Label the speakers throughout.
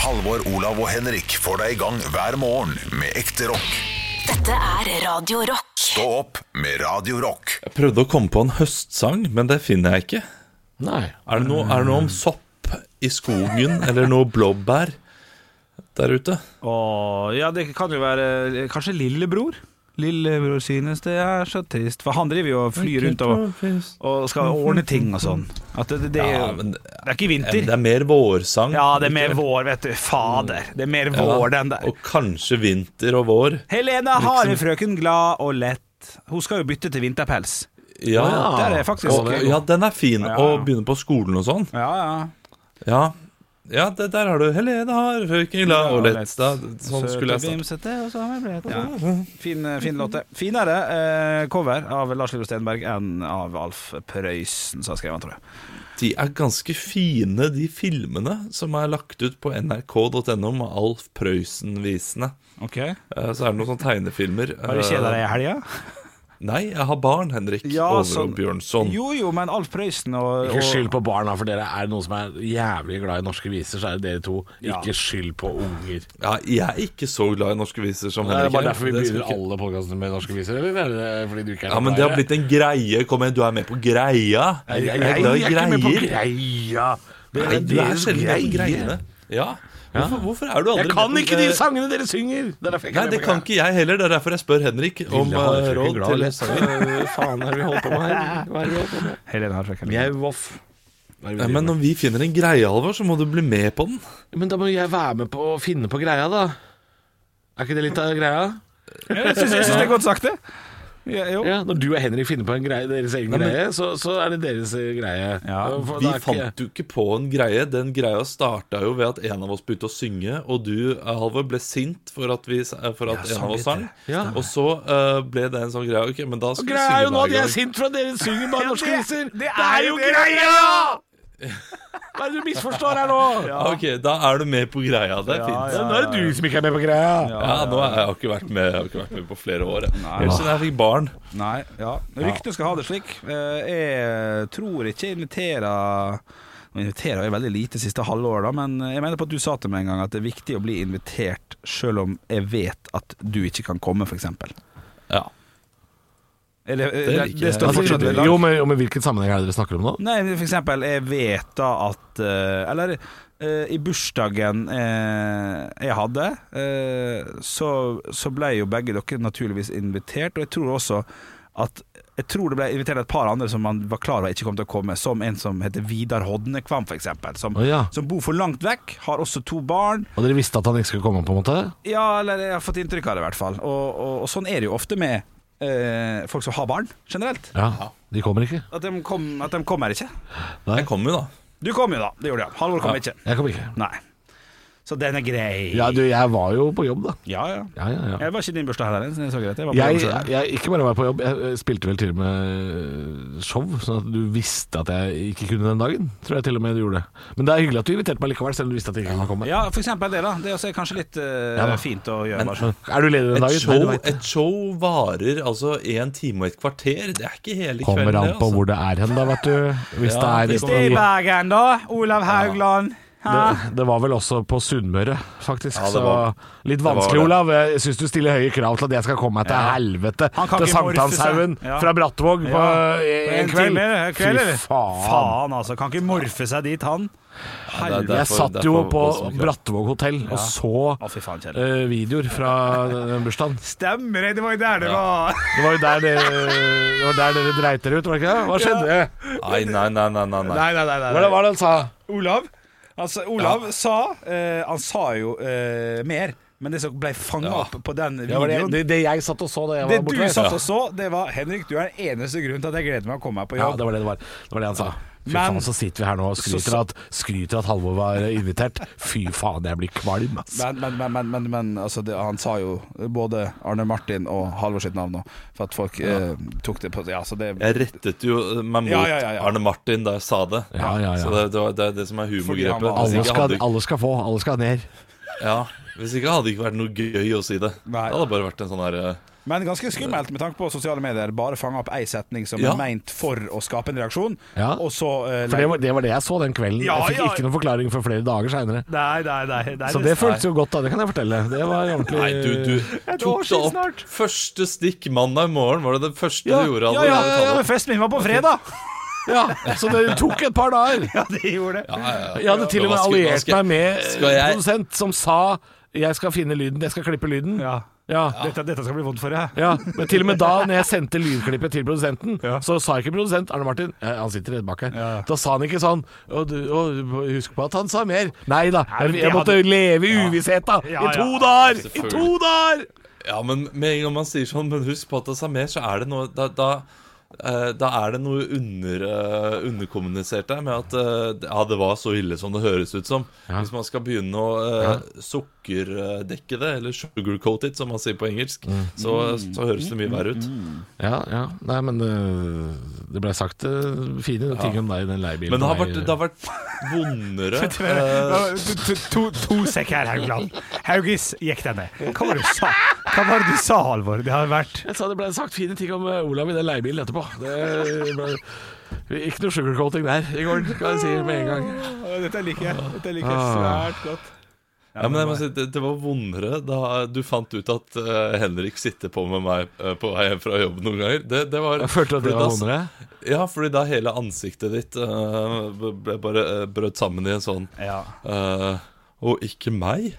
Speaker 1: Halvor, Olav og Henrik får deg i gang hver morgen med ekte rock.
Speaker 2: Dette er Radio Rock.
Speaker 1: Stå opp med Radio Rock.
Speaker 3: Jeg prøvde å komme på en høstsang, men det finner jeg ikke.
Speaker 4: Nei.
Speaker 3: Er det noe, er det noe om sopp i skogen, eller noe blåbær der ute?
Speaker 5: Åh, ja, det kan jo være eh, Kanskje lillebror? Lillebror synes det er så trist. For han driver jo og flyr rundt og, og skal ordne ting og sånn. At det, det, det, er jo-
Speaker 3: Ja, men-
Speaker 5: det er ikke
Speaker 3: Ja, men
Speaker 5: vinter.
Speaker 3: Det er mer vårsang.
Speaker 5: Ja, det er mer vår, vet du. Fader. Det er mer
Speaker 3: Ja,
Speaker 5: vår, den der.
Speaker 3: Og kanskje vinter og vår.
Speaker 5: Helena
Speaker 3: Liksom-
Speaker 5: har frøken glad og lett. Hun skal jo bytte til vinterpels.
Speaker 3: Ja,
Speaker 4: Ja,
Speaker 5: der er faktisk-
Speaker 3: og, Ah, ja den er fin.
Speaker 5: Ja.
Speaker 3: Og begynne på skolen og sånn.
Speaker 5: Ja, ja.
Speaker 3: Ja, ja det, der har du Helene har røyken glad og
Speaker 5: Ja,
Speaker 3: lett. Da, sånn skulle jeg sagt.
Speaker 5: Søte, vimsete, og så har vi blitt- Ja. Fin, eh, fin låte. Finere eh, cover av Lars Lillo Stenberg enn av Alf Prøysen, som har skrevet den, tror jeg.
Speaker 3: De er ganske fine, de filmene som er lagt ut på nrk.no med Alf Prøysen-visene.
Speaker 5: Ok.
Speaker 3: Eh, Så er det noen sånne tegnefilmer. Eh,
Speaker 5: Har du kjeda deg i helga?
Speaker 3: Nei, jeg har barn, Henrik.
Speaker 5: Ja,
Speaker 3: Eh, Over
Speaker 5: sånn.
Speaker 3: og Bjørnson.
Speaker 5: Jo jo, men Alf Prøysen og,
Speaker 4: Ikke skyld
Speaker 5: og
Speaker 4: på barna, for dere er det noen som er jævlig glad i norske viser, så er det dere to. Ikke skyld på unger.
Speaker 3: Ja, jeg er ikke så glad i norske viser som
Speaker 4: Det er
Speaker 3: Henrik.
Speaker 4: bare
Speaker 3: er.
Speaker 4: derfor vi
Speaker 3: Det skal
Speaker 4: begynner
Speaker 3: ikke-
Speaker 4: alle podkastene med norske viser, eller er det fordi du ikke er
Speaker 3: Ja, men det har blitt en greie. Kom igjen, du er med på greia.
Speaker 4: Nei, jeg,
Speaker 3: Jeg er
Speaker 4: jeg,
Speaker 3: glad i
Speaker 4: er ikke med på
Speaker 3: greier.
Speaker 4: greia. Det
Speaker 3: Nei, du er
Speaker 4: deres
Speaker 3: sjelden med på
Speaker 4: greie.
Speaker 3: greiene. Ja. Hvorfor, hvorfor er du aldri
Speaker 4: Jeg kan
Speaker 3: med på-
Speaker 4: ikke de
Speaker 3: eh,
Speaker 4: sangene dere synger! Det er derfor jeg
Speaker 3: Nei,
Speaker 4: er
Speaker 3: det
Speaker 4: med på
Speaker 3: kan
Speaker 4: greia.
Speaker 3: ikke jeg heller. Det er derfor jeg spør Henrik om
Speaker 4: Lille Harald
Speaker 3: eh,
Speaker 4: er ikke
Speaker 3: råd
Speaker 4: glad i
Speaker 3: til
Speaker 4: disse sangene. Hva faen er det vi holder på med her? Hva er det vi holder på med?
Speaker 5: Helene Hartvig.
Speaker 4: Mjau-voff. Hva er det vi
Speaker 3: Nei,
Speaker 4: driver
Speaker 3: men når
Speaker 4: med?
Speaker 3: vi finner en greie, Halvor, så må du bli med på den.
Speaker 4: Men da må jeg være med på å finne på greia, da. Er ikke det litt av greia?
Speaker 5: Jeg syns jeg syns det er godt sagt, det. Ja, jo.
Speaker 4: Ja, Når du og Henrik finner på en greie, deres egen greie, så, så er det deres eh, greie.
Speaker 5: Ja,
Speaker 3: Vi
Speaker 4: For det er ikke-
Speaker 3: fant jo ikke på en greie. Den greia starta jo ved at en av oss begynte å synge, og du, Halvor, ble sint for at, vi, eh, for at en av oss sang.
Speaker 4: Ja.
Speaker 3: Og så eh, ble det en sånn greie. Ok, men da skal vi
Speaker 4: Greia er jo
Speaker 3: synge
Speaker 4: nå at
Speaker 3: hver
Speaker 4: jeg er
Speaker 3: gang.
Speaker 4: sint for at dere synger bare norske viser!
Speaker 5: det er jo greia!
Speaker 4: Hva er det du misforstår her nå?
Speaker 3: Ok, da er du med på greia. Det er fint.
Speaker 4: Nå er det du som ikke er med på greia.
Speaker 3: Ja, nå har jeg ikke vært med, jeg har ikke vært med på flere år. jeg. Helt siden jeg fikk barn.
Speaker 5: Nei, ja. Ryktet skal ha det slik. Eh, Jeg tror ikke jeg inviterer Nå inviterer jeg veldig lite siste halvåret, da, men jeg mener på at du sa til meg en gang at det er viktig å bli invitert selv om jeg vet at du ikke kan komme, f.eks.
Speaker 3: Ja.
Speaker 5: Eller eh,
Speaker 3: Det
Speaker 5: det,
Speaker 3: liker
Speaker 5: det
Speaker 3: jeg.
Speaker 5: står
Speaker 3: Ja,
Speaker 5: fortsatt ved lag.
Speaker 4: Altså, Jo, men, jo, men hvilken sammenheng er det dere snakker om nå?
Speaker 5: Nei, men for eksempel, jeg vet da at eh, Eller eh, i bursdagen eh, jeg hadde, eh, så, så ble jo begge dere naturligvis invitert, og jeg tror også at jeg tror det ble invitert et par andre som man var klar over ikke kom til å komme, som en som heter Vidar Hodnekvam, f.eks., som,
Speaker 4: Å ja.
Speaker 5: som bor for langt vekk, har også to barn.
Speaker 4: Og dere visste at han ikke skulle komme, på en måte?
Speaker 5: Ja, eller jeg har fått inntrykk av det, i hvert fall. Og, og, og sånn er det jo ofte med eh, folk som har barn, generelt.
Speaker 4: Ja. De kommer ikke.
Speaker 5: At de, kom, at de kommer ikke.
Speaker 3: Jeg kom jo, da.
Speaker 5: Du kom jo, da. Det gjorde jeg. Halvor kom ikke.
Speaker 4: Jeg kommer ikke.
Speaker 5: Nei. Så den er grei.
Speaker 4: Ja, du, jeg var jo på jobb, da.
Speaker 5: ja, ja.
Speaker 4: Ja, ja, ja.
Speaker 5: Jeg var ikke i din bursdag heller. så Jeg, så greit. jeg var på
Speaker 4: Jeg,
Speaker 5: jobb selv.
Speaker 4: jeg, ikke bare var jeg på jobb, jeg eh, spilte vel til og med show, sånn at du visste at jeg ikke kunne den dagen. Tror jeg til og med du gjorde det. Men det er hyggelig at du inviterte meg likevel, selv om du visste at jeg ikke kunne komme.
Speaker 5: ja, for eksempel det, da. Det også er kanskje litt eh,
Speaker 4: Ja da.
Speaker 5: fint å gjøre.
Speaker 3: Men-
Speaker 5: bare sånn.
Speaker 4: Er du ledig den
Speaker 3: Et
Speaker 4: dagen?
Speaker 3: show,
Speaker 4: Nei, du vet.
Speaker 3: et show varer altså en time og et kvarter. Det er ikke hele kvelden.
Speaker 4: Kommer an
Speaker 3: det, altså.
Speaker 4: på hvor det er hen, da, vet du. Hvis
Speaker 3: Ja,
Speaker 4: det
Speaker 3: hvis
Speaker 4: er
Speaker 5: Det er i Bergen, da. Olav Haugland. Hæ?
Speaker 4: det, det var vel også på Sunnmøre, faktisk.
Speaker 3: Ja, det var-
Speaker 4: så litt
Speaker 3: var
Speaker 4: vanskelig,
Speaker 3: det.
Speaker 4: Olav. Jeg syns du stiller høye krav til at jeg skal komme meg til helvete.
Speaker 5: Han kan
Speaker 4: Til
Speaker 5: ikke morse seg.
Speaker 4: Sankthanshaugen
Speaker 5: Ja.
Speaker 4: fra Brattvåg på
Speaker 5: Ja.
Speaker 4: i- i en kveld.
Speaker 5: Time, eh, kveld
Speaker 4: Fy
Speaker 5: eller?
Speaker 4: faen.
Speaker 5: faen, altså. Kan ikke morfe seg dit, han.
Speaker 3: det er
Speaker 5: Helvete.
Speaker 3: der-
Speaker 4: Jeg
Speaker 3: Derfor-
Speaker 4: satt jo
Speaker 3: derfor
Speaker 4: på
Speaker 3: voldsomme krav.
Speaker 4: Brattvåg hotell og så
Speaker 5: Å, fy faen, kjedelig.
Speaker 4: eh, videoer fra den bursdagen.
Speaker 5: Stemmer det, det var jo der det var.
Speaker 4: Det var jo der dere, det var der dere dreit dere ut, var det ikke det? Hva skjedde?
Speaker 3: Nei, nei, nei, nei, nei, nei.
Speaker 5: nei, nei. nei,
Speaker 4: Hva var det han sa?
Speaker 5: Olav, altså, Olav sa eh, Han sa jo eh, mer, men det som ble fanga opp på den
Speaker 4: Det, var det,
Speaker 5: videoen
Speaker 4: det, det jeg satt og så da jeg
Speaker 5: Det
Speaker 4: var
Speaker 5: du
Speaker 4: borte.
Speaker 5: satt og så, det var Henrik, du er den eneste grunnen til at jeg gleder meg å komme meg på
Speaker 4: Ja,
Speaker 5: jobb.
Speaker 4: det var det det var. Det var det han sa. Fy
Speaker 5: Men-
Speaker 4: faen, så sitter vi her nå og skryter
Speaker 5: Så-
Speaker 4: at, skryter at Halvor var invitert. Fy faen, jeg blir kvalm, ass.
Speaker 5: men, men, men, men, men, men altså, det, han sa jo både Arne Martin og Halvor sitt navn nå, for at folk eh, tok det på Ja, så
Speaker 4: Eh.
Speaker 5: det
Speaker 3: Jeg rettet jo eh, meg mot
Speaker 5: Ja, ja, ja, ja.
Speaker 3: Arne Martin da jeg sa det.
Speaker 4: Ja, ja, ja.
Speaker 3: Så det, det, var, det er det som er humorgrepet.
Speaker 5: Fordi han var-
Speaker 3: Hvis
Speaker 4: Alle
Speaker 3: Altså, ikke
Speaker 4: skal,
Speaker 3: hadde-
Speaker 4: alle skal få, alle skal ned.
Speaker 3: ja, hvis ikke hadde det ikke vært noe gøy å si det.
Speaker 5: Nei.
Speaker 3: Det hadde bare vært en sånn her eh,
Speaker 5: Men ganske skummelt med tanke på at sosiale medier. Bare fange opp ei setning som
Speaker 3: Ja.
Speaker 5: er meint for å skape en reaksjon,
Speaker 4: Ja.
Speaker 5: og så eh,
Speaker 4: For det var, det var det jeg så den kvelden.
Speaker 6: Ja,
Speaker 4: jeg fikk
Speaker 6: ja.
Speaker 4: ikke noen forklaring for flere dager seinere.
Speaker 6: Nei, nei, nei. nei
Speaker 4: Så det føltes jo godt, da. Det kan jeg fortelle. Det var ordentlig
Speaker 3: Nei, du, du
Speaker 6: år
Speaker 3: tok det
Speaker 6: siden
Speaker 3: opp
Speaker 6: snart.
Speaker 3: første stikk mandag morgen. Var det det første du gjorde?
Speaker 5: ja,
Speaker 3: allerede
Speaker 5: ja,
Speaker 3: på
Speaker 5: ja, ja,
Speaker 3: tallet?
Speaker 5: festen min var på fredag!
Speaker 4: Ja, Så det tok et par dager.
Speaker 5: Ja, det gjorde det.
Speaker 4: Jeg hadde til
Speaker 3: Hva skulle-
Speaker 4: og med
Speaker 3: hva
Speaker 4: alliert
Speaker 3: skal-
Speaker 4: meg med
Speaker 3: skal
Speaker 4: en
Speaker 3: jeg-
Speaker 4: produsent som sa 'jeg skal finne lyden, jeg skal klippe lyden'.
Speaker 6: Ja.
Speaker 4: Ja.
Speaker 6: Dette, dette skal bli vondt for deg.
Speaker 4: Ja, Men til og med da når jeg sendte lydklippet til produsenten,
Speaker 6: Ja.
Speaker 4: så sa ikke produsent Arne Martin ja, Han sitter rett bak her.
Speaker 6: Ja.
Speaker 4: Da sa han ikke sånn og, du, og Husk på at han sa mer. Nei da.
Speaker 6: Nei,
Speaker 4: Jeg,
Speaker 6: men det
Speaker 4: jeg måtte
Speaker 6: hadde-
Speaker 4: leve i uvisshet, da.
Speaker 6: Ja,
Speaker 4: I
Speaker 6: ja.
Speaker 4: to dager! I
Speaker 3: Selvfølgelig.
Speaker 4: to dager!
Speaker 3: Ja, men med en gang man sier sånn Men husk på at det er mer, så er det noe Da, da eh, da er det noe under, eh, underkommunisert der med at eh, ja, det var så ille som det høres ut som. Hvis man skal begynne å eh, sukkerdekke det, eller sugarcoat it, som man sier på engelsk,
Speaker 4: Mm.
Speaker 3: så, så høres det mye verre ut.
Speaker 4: Ja, ja. Nei, men øh, det ble sagt øh, fine ting om deg i den leiebilen.
Speaker 3: Men det har
Speaker 4: på vei-
Speaker 3: vært, det har vært vondere eh,
Speaker 6: To, to, to, to sekk her, Haugland. Haugis, gikk deg ned. Hva var det du sa, Hva var det du sa Halvor? Det har vært
Speaker 4: Jeg sa det ble sagt fine ting om eh, Olav i den leiebilen etterpå. Det ble ikke noe sugarcoating der i går, skal jeg si med en gang.
Speaker 5: Dette liker jeg. Dette liker
Speaker 4: jeg
Speaker 5: svært godt.
Speaker 3: Ja, men jeg må si, det, det var vondere da du fant ut at eh, Henrik sitter på med meg eh, på vei hjem fra jobb noen ganger. Det, det var,
Speaker 4: Jeg følte at det
Speaker 3: fordi
Speaker 4: var
Speaker 3: da-
Speaker 4: vondere.
Speaker 3: Ja, fordi da hele ansiktet ditt eh, ble- ble bare eh, brøt sammen i en sånn
Speaker 5: Ja.
Speaker 3: eh, Og ikke meg?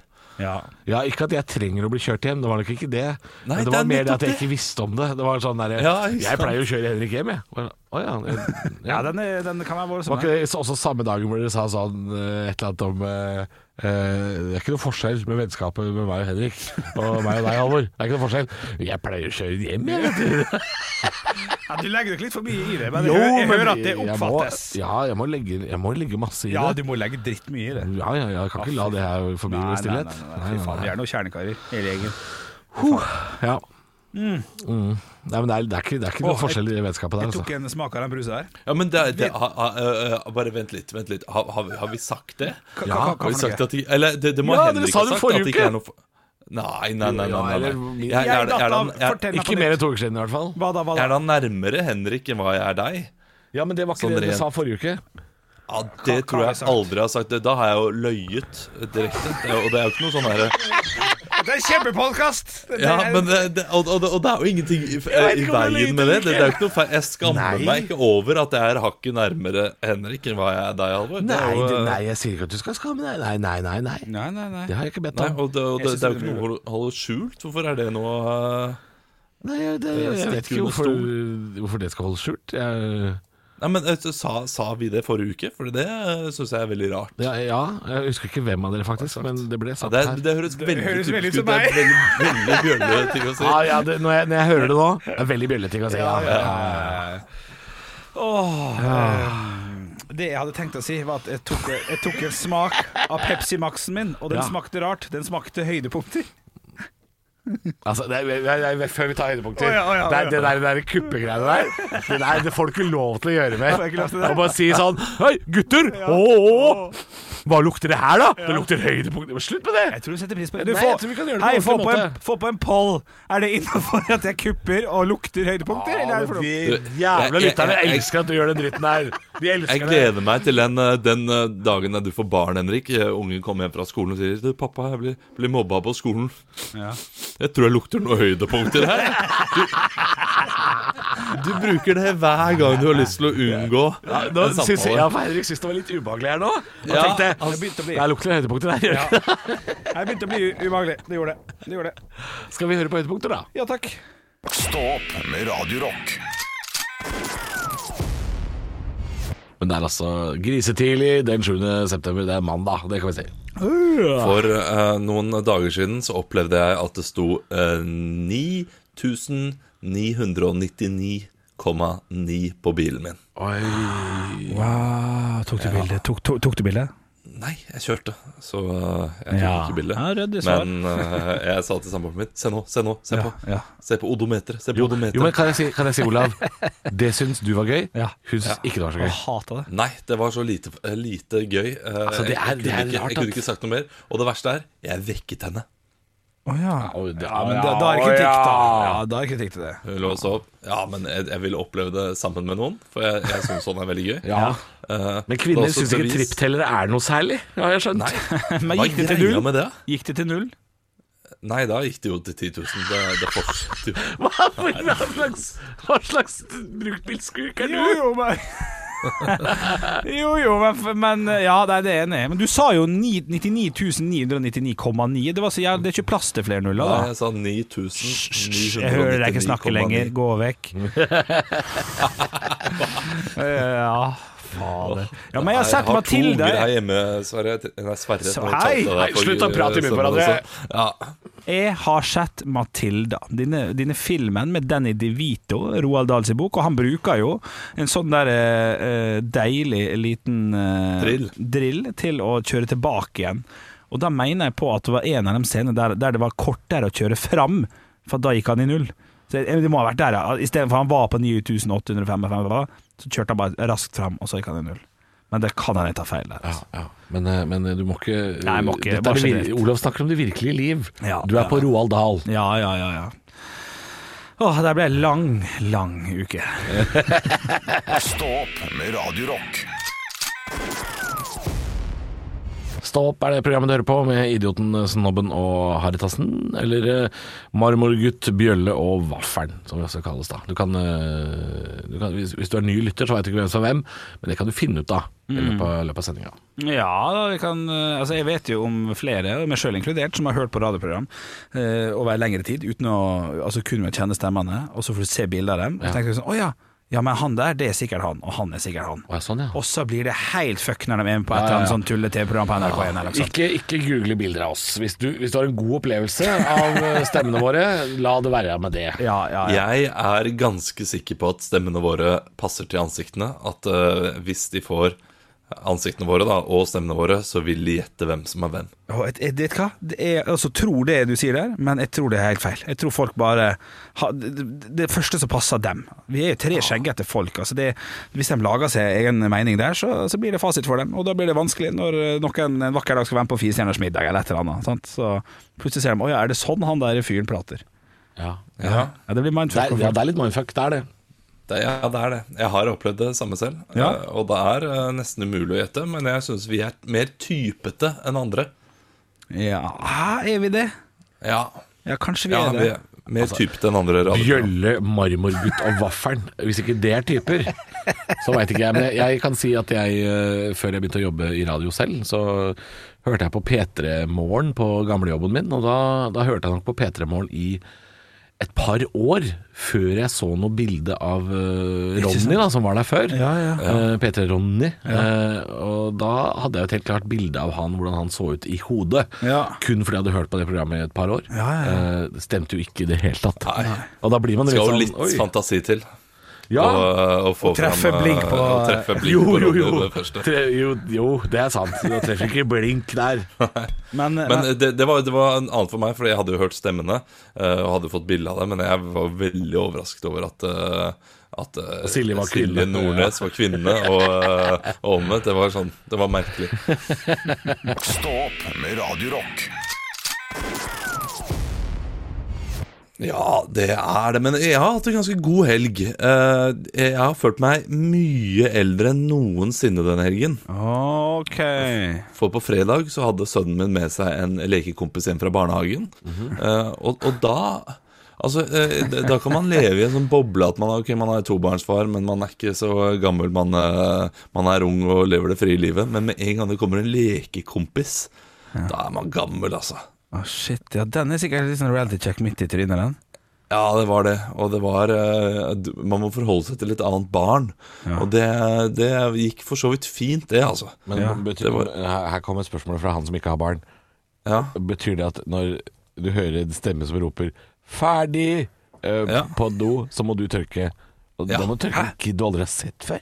Speaker 5: ja.
Speaker 4: Ja, ikke at jeg trenger å bli kjørt hjem, det var nok ikke det.
Speaker 3: Nei,
Speaker 4: Men det
Speaker 3: det
Speaker 4: var
Speaker 3: er
Speaker 4: mer det
Speaker 3: nettopp
Speaker 4: at jeg
Speaker 3: det.
Speaker 4: ikke visste om det. Det var sånn der,
Speaker 3: Ja, ikke
Speaker 4: Jeg
Speaker 3: sant.
Speaker 4: pleier jo å kjøre Henrik hjem, jeg. Bare, Å ja. jeg-
Speaker 5: ja
Speaker 4: ja.
Speaker 5: den, er, den kan være vår
Speaker 4: Var
Speaker 5: sånn.
Speaker 4: ikke det også samme dagen hvor dere sa sånn eh, et eller annet om eh, eh, Det er ikke noe forskjell med vennskapet med meg og Henrik og meg og deg, Halvor. Det er ikke noe forskjell. Jeg pleier å kjøre hjem, jeg. vet du.
Speaker 5: Ja, du legger deg litt forbi i det, men
Speaker 4: Jo,
Speaker 5: jeg, hører- jeg
Speaker 4: men
Speaker 5: hører at det
Speaker 4: jeg må-
Speaker 5: oppfattes.
Speaker 4: Ja, jeg må legge, jeg må legge masse i
Speaker 5: Ja,
Speaker 4: det.
Speaker 5: du må legge dritt mye i det.
Speaker 4: Ja, ja, jeg kan ikke la det her forbi
Speaker 5: Nei,
Speaker 4: med
Speaker 5: nei, nei,
Speaker 4: stillhet.
Speaker 5: nei, nei, fy faen, vi er noen kjernekarer, hele gjengen.
Speaker 4: Ja. Mm. Nei, men det er, det er ikke, det er ikke
Speaker 5: Åh,
Speaker 4: noe
Speaker 5: jeg-
Speaker 4: forskjell i vennskapet der,
Speaker 5: Jeg
Speaker 4: altså.
Speaker 5: tok en smak av den brusa her.
Speaker 3: Ja, men det, det, ha, ha, eh, eh, Bare vent litt. vent litt Har, har, vi, har vi sagt det?
Speaker 5: Hva-
Speaker 4: Ja,
Speaker 5: hva- hva
Speaker 3: Har vi
Speaker 5: for noe?
Speaker 3: sagt at ikke, Eller det, det må
Speaker 4: Ja, dere
Speaker 3: Henrik
Speaker 4: sa
Speaker 3: ha
Speaker 4: det
Speaker 3: sagt.
Speaker 4: forrige
Speaker 3: at det ikke
Speaker 4: uke.
Speaker 3: er noe for... Nei, nei, nei. nei, nei,
Speaker 4: Ja,
Speaker 3: nei.
Speaker 4: eller-
Speaker 3: Jeg,
Speaker 4: Jeg
Speaker 3: er, er,
Speaker 5: datt
Speaker 3: er,
Speaker 5: av.
Speaker 3: da- er,
Speaker 5: Fortell meg
Speaker 4: Ikke
Speaker 5: på
Speaker 4: mer
Speaker 5: nytt.
Speaker 4: enn to uker siden i hvert fall.
Speaker 5: Hva da, hva
Speaker 3: jeg er
Speaker 5: da?
Speaker 3: da nærmere Henrik enn hva jeg er deg.
Speaker 4: Ja, men det var ikke
Speaker 3: Sånn
Speaker 4: det du
Speaker 3: rent.
Speaker 4: sa forrige uke.
Speaker 3: Ja, Det
Speaker 5: hva
Speaker 3: tror
Speaker 5: har
Speaker 3: jeg
Speaker 5: jeg sagt?
Speaker 3: aldri har sagt. Da har jeg jo løyet direkte. Det- Og det er jo ikke noe sånn herre
Speaker 5: Det er en kjempepodkast!
Speaker 3: Ja, men det, det, og, og, og det er jo ingenting i, i veien med det. det. Det er jo ikke noe feil. Jeg skammer meg ikke over at jeg er hakket nærmere Henrik enn hva jeg er deg, Halvor. Det
Speaker 4: Nei,
Speaker 3: er jo,
Speaker 4: det,
Speaker 3: eh,
Speaker 4: nei, jeg sier ikke at du skal skamme deg. Nei, nei, nei. nei.
Speaker 5: Nei, nei, nei.
Speaker 4: Det har jeg ikke bedt
Speaker 3: Nei,
Speaker 4: om.
Speaker 3: og det, og
Speaker 5: Jeg
Speaker 3: det,
Speaker 5: synes
Speaker 3: det er jo
Speaker 5: det
Speaker 3: ikke
Speaker 5: blir
Speaker 3: noe å holde skjult. Hvorfor er det noe eh,
Speaker 4: Nei, jeg, det, jeg,
Speaker 3: stikker
Speaker 4: vet
Speaker 3: under
Speaker 4: ikke hvorfor, hvorfor det skal holdes skjult. Jeg,
Speaker 3: Nei, men eh, så sa, sa vi det forrige uke? For det syns jeg er veldig rart.
Speaker 4: ja, ja, jeg husker ikke hvem av dere, faktisk, men det ble
Speaker 3: Ja,
Speaker 4: sagt
Speaker 3: det,
Speaker 4: her.
Speaker 3: er- det høres veldig
Speaker 5: høres veldig ut
Speaker 3: typisk
Speaker 5: som
Speaker 3: ut. Det er veldig, veldig bjørnete ting å si.
Speaker 4: Ja, ja, det, når, jeg, når jeg hører det nå det er Veldig bjøllete ting å si. Ja, ja,
Speaker 5: Eh, Åh, eh, Det jeg hadde tenkt å si, var at jeg tok, jeg tok en smak av Pepsi Max-en min, og den
Speaker 4: Ja.
Speaker 5: smakte rart. Den smakte høydepunkter.
Speaker 4: Altså, det er, det er, det er, før vi tar høydepunkter.
Speaker 5: Å, ja, å, ja, å, ja.
Speaker 4: det, er, det der, det der kuppegreiene der, det der det får du ikke lov til å gjøre mer.
Speaker 5: Får jeg ikke lov til det?
Speaker 4: Og bare si sånn Hei, gutter! Å, å, å. Hva lukter det her, da? Det lukter høydepunkter. Slutt med det!
Speaker 5: Jeg tror du setter pris på det.
Speaker 4: Nei, jeg tror vi kan gjøre det på
Speaker 5: hei,
Speaker 4: en
Speaker 5: få
Speaker 4: ordentlig
Speaker 5: på en,
Speaker 4: måte.
Speaker 5: få på en poll. Er det innafor at jeg kupper og lukter høydepunkter, eller er det for dumt?
Speaker 4: De
Speaker 3: Jeg-
Speaker 4: jævla
Speaker 3: jeg-
Speaker 4: lytterne
Speaker 3: jeg-
Speaker 4: elsker at du gjør den dritten her. De
Speaker 3: Jeg
Speaker 4: elsker det.
Speaker 3: gleder meg til den, eh, den eh, dagen der du får barn, Henrik. Eh, Ungen kommer hjem fra skolen og sier «Du, 'Pappa, jeg blir, blir mobba på skolen'. Jeg tror jeg lukter noen høydepunkter her. Du, du bruker det hver gang du har lyst til å unngå
Speaker 4: Nå
Speaker 3: en
Speaker 4: syns jeg, ja,
Speaker 3: samtale.
Speaker 4: for Henrik syns det var litt ubehagelig her nå. Og
Speaker 3: Ja,
Speaker 4: tenkte
Speaker 5: altså- Det begynte å bli-
Speaker 4: Det lukter høydepunkter her.
Speaker 5: Jeg begynte å bli u- ubehagelig. Det gjorde det. det gjorde det.
Speaker 4: Skal vi høre på høydepunkter, da?
Speaker 5: Ja takk.
Speaker 1: Stå opp med Radio Rock.
Speaker 4: Men det er altså grisetidlig den 7. september. Det er mandag, det kan vi si.
Speaker 3: For eh, noen dager siden så opplevde jeg at det sto eh, 9999,9 på bilen min.
Speaker 5: Wow, tok du bilde? Tok, tok, tok du bilde?
Speaker 3: Nei, jeg kjørte, så eh, jeg tok
Speaker 5: Ja.
Speaker 3: ikke bildet.
Speaker 5: Ja, ryddig svar.
Speaker 3: men eh, jeg sa til samboeren min Se nå, se nå, se
Speaker 5: Ja,
Speaker 3: på.
Speaker 5: ja.
Speaker 3: Se på odometeret. Se på odometeret.
Speaker 4: Jo, men kan jeg si, kan jeg si Olav? Det syns du var gøy.
Speaker 5: Ja.
Speaker 4: Hun syns ikke det var så gøy.
Speaker 5: Jeg hata det.
Speaker 3: Nei, det var så lite, eh, lite gøy. Eh,
Speaker 4: Altså, det
Speaker 3: jeg, kunne
Speaker 4: er- det er
Speaker 3: ikke,
Speaker 4: rart
Speaker 3: jeg kunne
Speaker 4: at-
Speaker 3: ikke sagt noe mer. Og det verste er, jeg vekket henne.
Speaker 5: Å ja.
Speaker 4: Au, det-
Speaker 5: ja. Men da, da er det kritikk, da. Ja, da er det kritikk til det.
Speaker 3: Hun lå og sov. Ja, men jeg, jeg ville oppleve det sammen med noen, for jeg, jeg syns sånn er veldig gøy.
Speaker 4: Ja.
Speaker 3: Eh,
Speaker 4: Men
Speaker 3: det er
Speaker 4: kvinner
Speaker 3: også
Speaker 4: syns ikke
Speaker 3: bevis-
Speaker 4: tripptellere er noe særlig, har jeg skjønt.
Speaker 5: Men
Speaker 3: Hva
Speaker 5: gikk det
Speaker 3: greia
Speaker 5: til null?
Speaker 3: Med det?
Speaker 5: Gikk det til null?
Speaker 3: Nei, da gikk det jo til 10 000. Det, det fortsatte jo.
Speaker 4: Hva, for, hva slags, hva slags bruktbilskurk er du?
Speaker 5: Jo, jo, men Jo, jo, men, men Ja, nei, det er enig. Men du sa jo ni- 99 999,9. Det, var så jævlig- det er ikke plass til flere nuller,
Speaker 3: Nei,
Speaker 5: da.
Speaker 3: jeg sa
Speaker 5: Hysj, Jeg hører deg ikke snakke lenger.
Speaker 3: 9999,9.
Speaker 5: Gå vekk. ja, fader. Ja, men jeg har sett
Speaker 3: Jeg
Speaker 5: Mathilde.
Speaker 3: har to unger her hjemme, Sverre. Nei, Sverre.
Speaker 5: Så-
Speaker 3: nå
Speaker 5: hei!
Speaker 3: talte jeg deg
Speaker 4: Nei,
Speaker 3: for-
Speaker 4: slutt å prate i munnen på
Speaker 3: stemmen
Speaker 4: hverandre.
Speaker 3: også. Ja,
Speaker 5: Jeg har sett Matilda, denne, denne filmen med Danny DeVito, Roald Dahls i bok, og han bruker jo en sånn der eh, eh, deilig liten eh,
Speaker 3: Drill.
Speaker 5: til å kjøre tilbake igjen. Og da mener jeg på at det var en av de scenene der, der det var kortere å kjøre fram, for da gikk han i null. Så jeg- det må ha vært der, ja. Istedenfor han var på 9855, så kjørte han bare raskt fram, og så gikk han i null. Men det kan hende jeg tar feil der.
Speaker 4: Ja,
Speaker 5: Altså.
Speaker 4: ja. Men, eh, men du må ikke
Speaker 5: Nei, jeg må ikke,
Speaker 4: Dette
Speaker 5: bare
Speaker 4: er det,
Speaker 5: generelt.
Speaker 4: vir- Olav snakker om det virkelige liv.
Speaker 5: Ja,
Speaker 4: du er
Speaker 5: ja.
Speaker 4: på Roald Dahl.
Speaker 5: Ja, ja, ja, ja. Åh, det ble en lang, lang uke.
Speaker 1: Stå opp med Radio Rock.
Speaker 4: Stå opp er det programmet du hører på, med Idioten, eh, Snobben og Haritassen. Eller eh, Marmorgutt, Bjølle og Vaffelen, som vi også kalles da. Du kan, eh, du kan, hvis, hvis du er ny lytter, så veit du ikke hvem som er hvem, men det kan du finne ut da i løpet av, løpet av sendinga.
Speaker 5: Ja, da, vi kan, eh, altså jeg vet jo om flere, og meg sjøl inkludert, som har hørt på radioprogram eh, over lengre tid uten å altså kun ved å kjenne stemmene, og så får du se bilder av dem. Og så
Speaker 4: Ja.
Speaker 5: tenker du sånn Å ja, ja, men han der, det er sikkert han, og han er sikkert han.
Speaker 4: Å, ja, sånn, ja.
Speaker 5: Og så blir det helt fuck når de er med på et
Speaker 4: Ja,
Speaker 5: eller
Speaker 4: ja,
Speaker 5: annet
Speaker 4: ja.
Speaker 5: sånn tulle-TV-program på NRK1 eller noe sånt.
Speaker 4: Ikke, ikke google bilder av oss. Hvis du, hvis du har en god opplevelse av eh, stemmene våre, la det være med det.
Speaker 5: Ja, ja, ja.
Speaker 3: Jeg er ganske sikker på at stemmene våre passer til ansiktene. At eh, hvis de får ansiktene våre da, og stemmene våre, så vil de gjette hvem som er hvem.
Speaker 5: Og jeg- jeg vet hva? Det er, altså, tror det du sier der, men jeg tror det er helt feil. Jeg tror folk bare har, det, det- det første som passer dem. Vi er jo tre skjeggete folk. Altså det, hvis de lager seg egen mening der, så, så blir det fasit for dem. Og da blir det vanskelig når eh, noen en vakker dag skal være med på Fire stjerners middag eller et eller annet. Sant? Så plutselig ser de Å ja, er det sånn han der fyren prater?
Speaker 4: Ja.
Speaker 5: Ja, det blir
Speaker 4: Det,
Speaker 5: mindfuck.
Speaker 4: er, ja, det er litt mindfuck, det er det.
Speaker 3: Det, ja, det er det. Jeg har opplevd det samme selv.
Speaker 5: Ja.
Speaker 3: Eh, og det er eh, nesten umulig å gjette, men jeg syns vi er mer typete enn andre.
Speaker 5: Ja, Hæ, er vi det?
Speaker 3: Ja,
Speaker 5: Ja, kanskje vi
Speaker 3: ja
Speaker 5: er
Speaker 3: vi
Speaker 5: det. Altså,
Speaker 3: er mer typete enn andre. radioprogram.
Speaker 4: Bjølle, marmorgutt og vaffelen. Hvis ikke det er typer, så veit ikke jeg. Men jeg kan si at jeg, eh, før jeg begynte å jobbe i radio selv, så hørte jeg på P3 Morgen på gamlejobben min, og da, da hørte jeg nok på P3 Morgen i et par år før jeg så noe bilde av eh, Ronny, da, som var der før.
Speaker 5: Ja, ja.
Speaker 4: Eh, P3 Ronny. Eh, og da hadde jeg jo et helt klart bilde av han, hvordan han så ut i hodet.
Speaker 5: Ja.
Speaker 4: Kun fordi jeg hadde hørt på det programmet i et par år.
Speaker 5: Ja, ja, ja.
Speaker 4: Eh, det stemte jo ikke i det hele tatt. Og da blir man
Speaker 3: Det skal jo
Speaker 4: litt
Speaker 3: litt
Speaker 4: sånn
Speaker 3: fantasi til.
Speaker 4: Ja.
Speaker 3: å, eh, å få
Speaker 5: Og treffe
Speaker 3: fram, eh,
Speaker 5: blink på-
Speaker 3: å treffe blink
Speaker 4: Jo,
Speaker 3: på
Speaker 4: jo,
Speaker 3: radio
Speaker 4: jo.
Speaker 3: det første.
Speaker 4: Tre, jo. Jo, det er sant. Du treffer ikke blink der.
Speaker 5: Men, men,
Speaker 3: Men eh, det, det, var, det var en annen for meg, Fordi jeg hadde jo hørt stemmene eh, og hadde fått bilde av det. Men jeg var veldig overrasket over at, eh, at eh,
Speaker 4: Og Silje var kvinne.
Speaker 3: Nordnes var kvinne, og, eh, og omvendt. Det var sånn Det var merkelig.
Speaker 1: Stå opp med Radio Rock.
Speaker 3: Ja, det er det. Men jeg har hatt en ganske god helg. Eh, jeg har følt meg mye eldre enn noensinne denne helgen.
Speaker 5: OK.
Speaker 3: For på fredag så hadde sønnen min med seg en lekekompis hjem fra barnehagen. Eh, og, og da Altså, eh, d- da kan man leve i en sånn boble at man, er- ok, man er tobarnsfar, men man er ikke så gammel. Man, eh, man er ung og lever det frie livet. Men med en gang det kommer en lekekompis, da er man gammel, altså.
Speaker 5: Å, shit. Ja, den er sikkert litt sånn reality check midt i trynet, den.
Speaker 3: Ja, det var det. Og det var eh, d- Man må forholde seg til et annet barn. Og det, det gikk for så vidt fint, det, altså.
Speaker 4: Men betyr,
Speaker 3: det var-
Speaker 4: her, her kommer spørsmålet fra han som ikke har barn.
Speaker 3: Ja.
Speaker 4: Betyr det at når du hører en stemme som roper 'ferdig' eh,
Speaker 3: Ja.
Speaker 4: på do, så må du tørke? Og
Speaker 3: Ja.
Speaker 4: Da må du tørke en kid du aldri har sett før.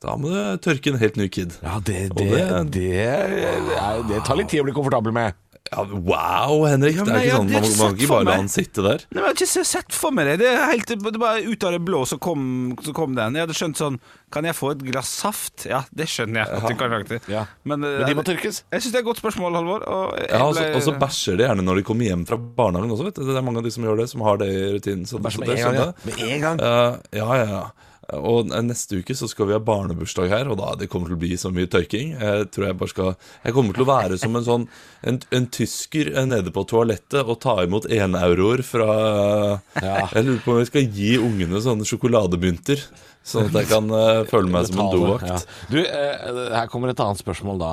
Speaker 3: Da må du tørke en helt ny kid.
Speaker 4: Ja, det,
Speaker 3: Og
Speaker 4: det, det, er- det tar litt tid å bli komfortabel med.
Speaker 3: Ja, wow, Henrik.
Speaker 5: Ja,
Speaker 3: det
Speaker 5: men
Speaker 3: er ikke
Speaker 5: jeg-
Speaker 3: sånn, Man
Speaker 5: jeg
Speaker 3: man
Speaker 5: har ikke
Speaker 3: kan
Speaker 5: sett
Speaker 3: ikke
Speaker 5: for
Speaker 3: bare la
Speaker 5: meg.
Speaker 3: han sitte der.
Speaker 5: Nei, men Jeg har ikke se- sett for meg det. Det er helt det er bare ut av det blå, så kom, så kom den. Jeg hadde skjønt sånn Kan jeg få et glass saft? Ja, det skjønner jeg. At du kan lage det.
Speaker 4: Ja.
Speaker 5: Men, eh,
Speaker 4: Men de må tørkes. altså,
Speaker 5: Jeg syns det er et godt spørsmål, Halvor. Og jeg
Speaker 3: Ja, og så,
Speaker 5: ble-
Speaker 3: og så bæsjer de gjerne når de kommer hjem fra barnehagen også, vet du. Det er mange av de som gjør det, som har det i rutinen. Så, så det skjønner jeg.
Speaker 4: Med en gang.
Speaker 3: Eh, ja, ja, ja. Og eh, neste uke så skal vi ha barnebursdag her, og da det kommer til å bli så mye tørking. Jeg tror jeg bare skal Jeg kommer til å være som en sånn En, en tysker eh, nede på toalettet og ta imot eneuroer fra
Speaker 4: Ja.
Speaker 3: Jeg lurer på om jeg skal gi ungene sånne sjokolademynter, sånn at jeg kan eh, føle meg som en
Speaker 4: Betale,
Speaker 3: dovakt.
Speaker 4: ja. Du, eh, her kommer et annet spørsmål da.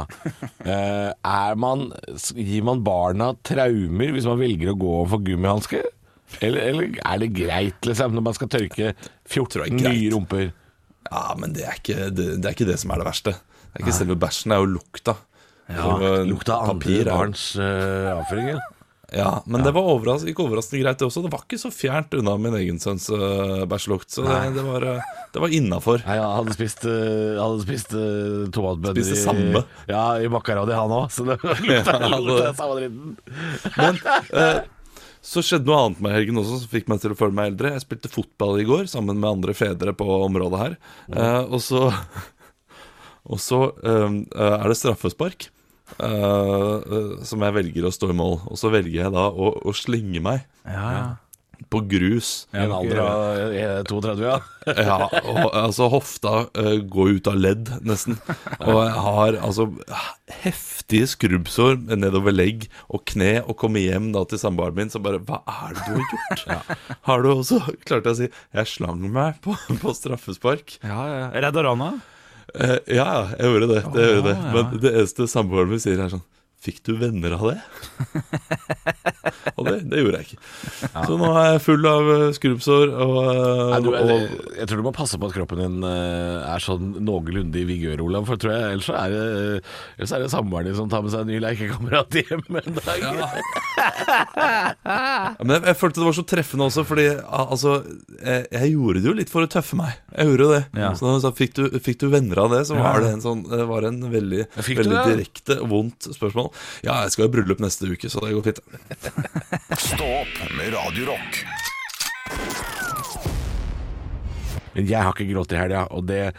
Speaker 4: Eh, er man, gir man barna traumer hvis man velger å gå for gummihanske? Eller, eller er det greit liksom, når man skal tørke 14
Speaker 3: jeg er greit.
Speaker 4: nye rumper?
Speaker 3: Ja, men det er, ikke, det, det er ikke det som er det verste. Det er ikke selve bæsjen, det er jo lukta. Og, eh, papir er-
Speaker 4: avføring.
Speaker 3: eh, Ja, men det var overras ikke overraskende greit, det også. Det var ikke så fjernt unna min egen sønns eh, bæsjelukt, så det, det var, eh, det var innafor.
Speaker 4: Nei, han hadde spist, eh, hadde spist eh, tomatbønner
Speaker 3: Spiste
Speaker 4: i-
Speaker 3: samme.
Speaker 4: Ja, i makaroni, han òg. Så det lukta
Speaker 3: Ja,
Speaker 4: lukta
Speaker 3: det-
Speaker 4: samme dritten.
Speaker 3: Så skjedde noe annet med helgen også som fikk meg til å føle meg eldre. Jeg spilte fotball i går sammen med andre fedre på området her. Eh, og så, og så eh, er det straffespark eh, eh, som jeg velger å stå i mål. Og så velger jeg da å, å slenge meg på grus.
Speaker 4: I en alder av eh, 32, ja.
Speaker 3: Ja, og, altså hofta eh, går ut av ledd nesten Og jeg har altså heftige skrubbsår nedover legg og kne Og kommer hjem da til samboeren min Så bare, hva er det du har gjort? Har du også, klarte jeg å si Jeg slang meg på, på straffespark
Speaker 5: ja, ja.
Speaker 6: Redder han henne?
Speaker 3: Eh, Ja, ja, jeg gjorde det, det, gjorde det. Men det eneste samboeren min sier er sånn Fikk du venner av det? og det, det gjorde jeg ikke Så nå er jeg full av eh, skrubbsår og, eh,
Speaker 4: Nei, du,
Speaker 3: og
Speaker 4: jeg, jeg tror du må passe på at kroppen din eh, er sånn noenlunde i vigør, Olav. For tror jeg, ellers, så er det, ellers er det samboeren din som tar med seg en ny lekekamerat hjem en dag.
Speaker 3: Ja, Men jeg, jeg følte det var så treffende også, fordi al- altså, jeg, jeg gjorde det jo litt for å tøffe meg. Jeg gjorde jo det. Så da hun sa fikk du, fikk du venner av det, så var det en sånn Det var en veldig,
Speaker 4: Fikk du
Speaker 3: veldig direkte, vondt spørsmål. Ja, jeg skal jo i bryllup neste uke, så det går fint.
Speaker 1: Stå opp med Radio Rock.
Speaker 4: Men jeg har ikke grått i helga, og det,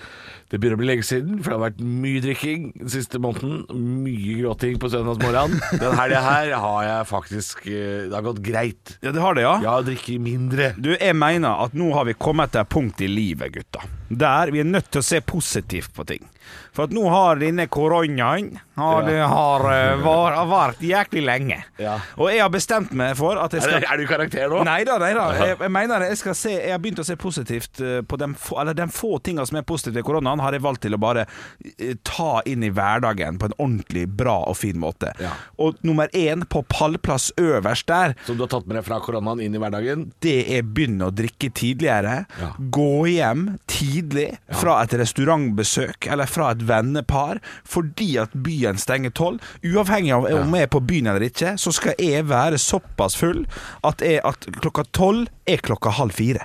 Speaker 4: det begynner å bli lenge siden. For det har vært mye drikking den siste måneden. Mye gråting på søndagsmorgenen. Den helga her har jeg faktisk eh, Det har gått greit.
Speaker 5: ja, det har det, ja.
Speaker 4: Jeg har drikket mindre.
Speaker 5: Du, jeg mener at nå har vi kommet til et punkt i livet, gutta. Der vi er nødt til å se positivt på ting. For at nå har denne koronaen har, det har, eh, var, har vært jæklig lenge.
Speaker 4: Ja.
Speaker 5: Og jeg har bestemt meg for at jeg
Speaker 4: Er,
Speaker 5: skal
Speaker 4: det- er du i karakter nå?
Speaker 5: Nei da, nei da. Jeg, jeg mener det. Jeg, skal se, jeg har begynt å se positivt eh, på de få, eller de få tinga som er positive i koronaen, har jeg valgt til å bare eh, ta inn i hverdagen på en ordentlig bra og fin måte.
Speaker 4: Ja.
Speaker 5: Og nummer én, på pallplass øverst der,
Speaker 4: Som du har tatt med deg fra koronaen inn i hverdagen?
Speaker 5: det er begynne å drikke tidligere.
Speaker 4: Ja.
Speaker 5: Gå hjem tidlig fra et restaurantbesøk eller fra et vennepar fordi at byen stenger tolv. Uavhengig av om jeg er på byen eller ikke, så skal jeg være såpass full at, jeg, at klokka tolv er klokka halv fire.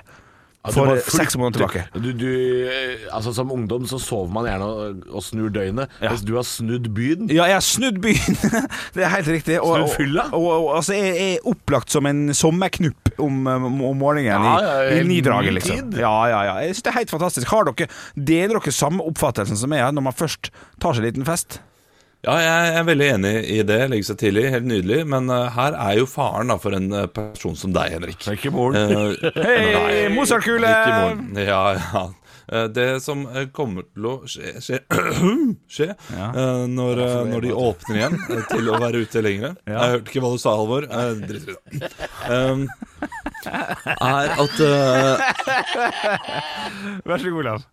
Speaker 4: Ja, du
Speaker 5: For eh,
Speaker 4: bare
Speaker 5: seks måneder tilbake.
Speaker 4: Du, du, eh, altså Som ungdom så sover man gjerne og, og snur døgnet. Hvis du har snudd byen
Speaker 5: Ja, jeg har snudd byen. det er helt riktig. Og,
Speaker 4: Snudd fylla?
Speaker 5: Og, og, og, altså, jeg jeg er opplagt som en sommerknupp om, om om morgenen
Speaker 4: Ja, ja,
Speaker 5: i, i
Speaker 4: helt
Speaker 5: nidraget,
Speaker 4: ny
Speaker 5: liksom.
Speaker 4: tid.
Speaker 5: Ja, ja, ja. Jeg synes det er helt fantastisk. Har dere, deler dere samme oppfattelsen som jeg har når man først tar seg en liten fest?
Speaker 3: Ja, jeg er veldig enig i det. Legge seg tidlig, helt nydelig. Men eh, her er jo faren da for en eh, person som deg, Henrik.
Speaker 4: Det er ikke moren.
Speaker 3: Eh,
Speaker 5: Hei, Mozartkule!
Speaker 3: Ikke i morgen. Ja, ja. Eh, Det som eh, kommer til å skje, skje, skje eh, når, eh, når de åpner igjen eh, til å være ute lenger Jeg hørte ikke hva du sa, Halvor. Eh, Drit i det. Um, Er at eh,
Speaker 6: Vær så god, Olav.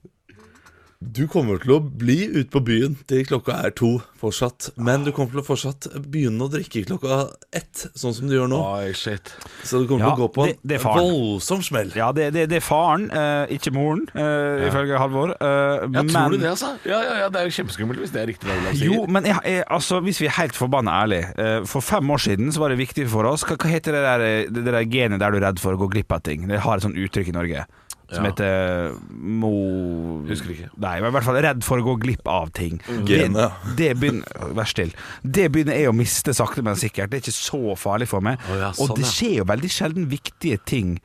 Speaker 3: du kommer til å bli ute på byen til klokka er to fortsatt. Men du kommer til å fortsatt begynne å drikke klokka ett, sånn som du gjør nå.
Speaker 4: Oi, shit.
Speaker 3: Så du kommer til
Speaker 5: Ja,
Speaker 3: å gå på
Speaker 5: det- det er
Speaker 3: en
Speaker 5: faren.
Speaker 3: voldsom smell.
Speaker 5: Ja, det, det, det er faren, eh, ikke moren, eh, ifølge Halvor. Eh,
Speaker 4: Ja,
Speaker 5: men-
Speaker 4: tror du det, altså? Ja, ja, ja, Det er jo kjempeskummelt hvis det er riktig. hva Olav sier.
Speaker 5: Jo, men jeg, jeg, altså, hvis vi er helt forbanna ærlige eh, For fem år siden så var det viktig for oss Hva, hva heter det der, eh, det der genet der du er redd for å gå glipp av ting? Det har et sånt uttrykk i Norge. som heter Mo...
Speaker 4: Husker ikke. Mm.
Speaker 5: Nei, men i hvert fall redd for å gå glipp av ting.
Speaker 3: Gene,
Speaker 5: det,
Speaker 3: ja.
Speaker 5: det begynner Vær still. Det begynner jeg å miste sakte, men sikkert. Det er ikke så farlig for meg.
Speaker 4: Å ja, sånn,
Speaker 5: Og det
Speaker 4: ja.
Speaker 5: skjer jo veldig sjelden viktige ting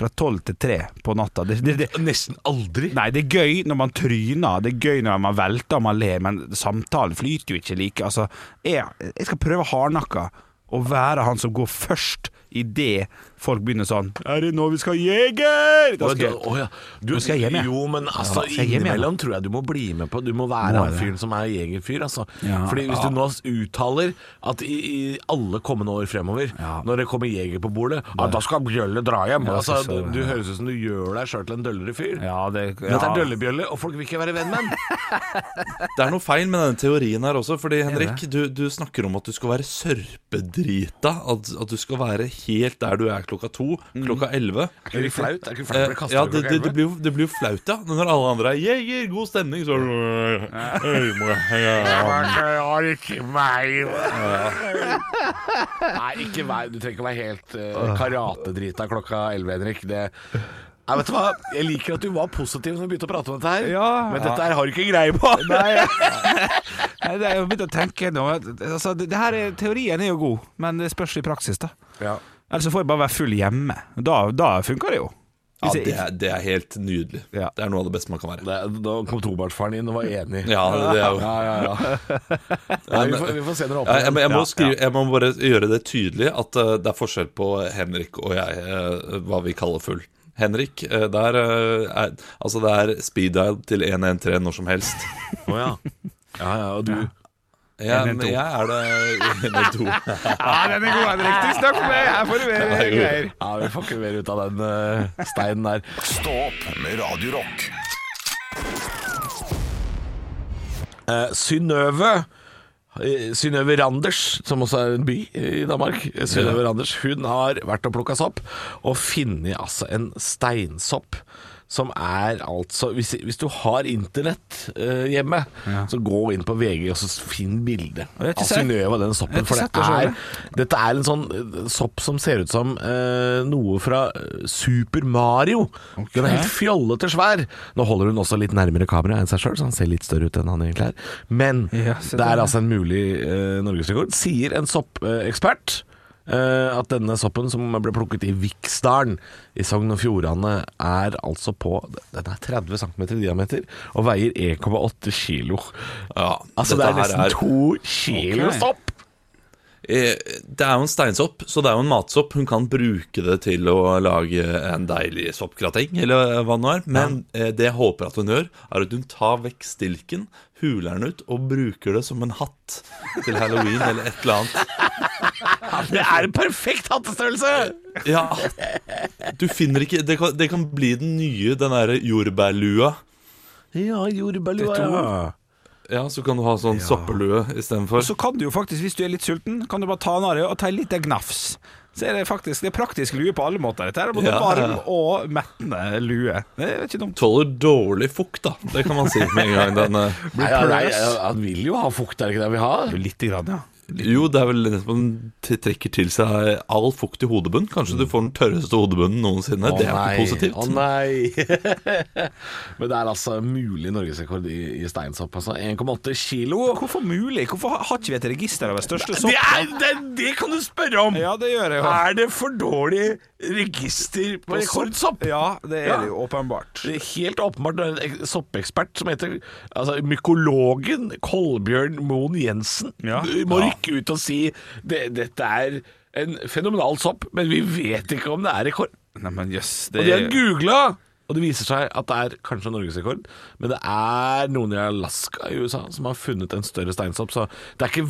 Speaker 5: fra tolv til tre på natta. Det, det, det,
Speaker 4: Nesten aldri.
Speaker 5: Nei, det er gøy når man tryner, det er gøy når man velter og man ler, men samtalen flyter jo ikke like. Altså, jeg, jeg skal prøve hardnakka å være han som går først idet folk begynner sånn Er det nå vi skal jeger? Da
Speaker 4: Å,
Speaker 5: skal
Speaker 4: da-
Speaker 5: jeg,
Speaker 4: å, ja. du,
Speaker 5: Nå skal jeg hjem, jeg.
Speaker 4: Jo, men altså,
Speaker 5: Ja, skal jeg hjem, jeg, da?
Speaker 4: innimellom tror jeg du må bli med på Du må være
Speaker 5: Må jeg
Speaker 4: han
Speaker 5: det?
Speaker 4: fyren som er jegerfyr, altså.
Speaker 5: Ja,
Speaker 4: Fordi hvis
Speaker 5: ja.
Speaker 4: du nå uttaler at i, i alle kommende år fremover,
Speaker 5: Ja.
Speaker 4: når det kommer jeger på bordet, ja, da skal Bjølle dra hjem.
Speaker 5: Ja,
Speaker 4: altså,
Speaker 5: skal så-
Speaker 4: du, du høres ut som du gjør deg sjøl til en døllere fyr.
Speaker 5: ja, det, ja.
Speaker 4: Dette er Døllebjølle, og folk vil ikke være venn med den.
Speaker 3: Det er noe feil med denne teorien her også, fordi Henrik, du, du snakker om at du skal være sørpedrita. At, at du skal være helt der du er klokka to, klokka elleve.
Speaker 4: Er ikke flaut? Er ikke flaut å
Speaker 3: Eh,
Speaker 4: bli kastet
Speaker 3: ja,
Speaker 4: ut
Speaker 3: det,
Speaker 4: klokka
Speaker 3: det, det,
Speaker 4: elleve?
Speaker 3: blir jo, det blir jo flaut, ja. Når alle andre er 'jeger, god stemning', så er sånn, du
Speaker 4: Nei, ikke meg. Nei, ikke meg. Du trenger ikke å være helt uh, karatedrita klokka 11, Henrik. Det Nei, vet du hva? Jeg liker at du var positiv når vi begynte å prate om dette her,
Speaker 5: Ja.
Speaker 4: men dette her har du ikke greie på.
Speaker 5: Nei, Nei, det er jo begynt å tenke nå altså, det, det her er, Teorien er jo god, men det spørs i praksis, da.
Speaker 4: Ja.
Speaker 5: Ellers så får jeg bare være full hjemme. Da, da funker det jo.
Speaker 3: ja,
Speaker 5: Hvis jeg-
Speaker 3: det, er, det er helt nydelig.
Speaker 5: Ja.
Speaker 3: Det er noe av det beste man kan være.
Speaker 4: Det, da kom tobarnsfaren inn og var enig.
Speaker 3: Ja, det, det er jo
Speaker 4: ja, ja. ja. Nei, vi, får, vi får se når det
Speaker 3: Ja, jeg,
Speaker 4: åpner.
Speaker 3: må- jeg, må
Speaker 5: Ja,
Speaker 3: skrive, jeg må bare gjøre det tydelig at eh, det er forskjell på Henrik og jeg, eh, hva vi kaller full. Henrik, eh, der eh, er, altså det er speed dial til 113 når som helst.
Speaker 4: Å, ja. Ja, ja, og du
Speaker 3: Jeg,
Speaker 5: 112.
Speaker 3: jeg er det 112.
Speaker 5: Ja, den er god, Henrik. Tusen takk for meg. Her får du mer
Speaker 3: god.
Speaker 5: greier.
Speaker 4: Ja, vi får ikke mer ut av den eh, steinen der.
Speaker 1: Stå opp med Radio Rock.
Speaker 4: Eh, Synnøve eh, Synnøve Randers, som også er en by i Danmark, eh, Synnøve Randers, hun har vært og plukka sopp, og funnet altså en steinsopp. Som er altså Hvis, hvis du har internett eh, hjemme, så gå inn på VG og så finn bilde
Speaker 5: har ikke
Speaker 4: av
Speaker 5: sett-
Speaker 4: Synnøve og den soppen.
Speaker 5: har ikke
Speaker 4: For det
Speaker 5: sett det selv,
Speaker 4: er, dette er en sånn eh, sopp som ser ut som eh, noe fra eh, Super Mario. Den er helt fjollete svær. Nå holder hun også litt nærmere kamera enn seg sjøl, så han ser litt større ut enn han egentlig er. Men
Speaker 5: Ja, se
Speaker 4: det er
Speaker 5: der, ja.
Speaker 4: altså en mulig eh, norgesrekord, sier en soppekspert. eh, at denne soppen som ble plukket i Viksdalen i Sogn og Fjordane, er altså på Den er 30 cm i diameter og veier 1,8 kilo.
Speaker 3: Ja,
Speaker 4: Altså, det
Speaker 3: dette
Speaker 4: er
Speaker 3: her
Speaker 4: nesten to kilo
Speaker 5: Ok.
Speaker 4: sopp!
Speaker 3: Eh, Det er jo en steinsopp, så det er jo en matsopp. Hun kan bruke det til å lage en deilig soppgrateng, eller hva det nå er. Men eh, det jeg håper at hun gjør, er at hun tar vekk stilken, huler den ut og bruker det som en hatt til halloween eller et eller annet.
Speaker 4: Det er en perfekt hattestørrelse!
Speaker 3: Ja, du finner ikke Det kan, det kan bli den nye, den derre jordbærlua.
Speaker 4: Ja, jordbærlua.
Speaker 3: Ja, så kan du ha sånn soppelue istedenfor.
Speaker 5: Så kan du jo faktisk, hvis du er litt sulten, kan du bare ta en av det og ta en liten gnafs. Så er det faktisk det er praktisk lue på alle måter. Dette er både
Speaker 3: Ja.
Speaker 5: varm og mettende lue. Det er ikke dumt.
Speaker 3: Tåler dårlig fukt, da. Det kan man si med en gang. Den, eh,
Speaker 4: Nei, ja, nei, han vil jo ha fukt, er det ikke det vi har?
Speaker 5: Litt, grann, ja.
Speaker 3: Jo, det er vel nettopp at den t- trekker til seg all fukt i hodebunnen. Kanskje du får den tørreste hodebunnen noensinne. det er ikke positivt.
Speaker 4: Å nei. Men det er altså mulig norgesrekord i, i steinsopp. Altså. 1,8 kilo.
Speaker 5: Hvorfor mulig? Hvorfor har har ikke vi et register over største
Speaker 4: Det,
Speaker 5: sopp?
Speaker 4: er, det, er- det kan du spørre om!
Speaker 5: Ja, det gjør jeg jo.
Speaker 4: Er det for dårlig register på rekordsopp?
Speaker 5: Ja, det er
Speaker 4: Ja.
Speaker 5: det jo åpenbart.
Speaker 4: Det er Helt åpenbart det er en ek- soppekspert som heter altså, mykologen Kolbjørn Moen Jensen.
Speaker 5: Ja.
Speaker 4: Du må rykke ut og si det, dette er en fenomenal sopp, men vi vet ikke om det er rekord.
Speaker 5: Nei, men jøss,
Speaker 4: Og
Speaker 5: det
Speaker 4: de har googla! Og det viser seg at det er kanskje norgesrekord, men det er noen i Alaska i USA som har funnet en større steinsopp, så det er ikke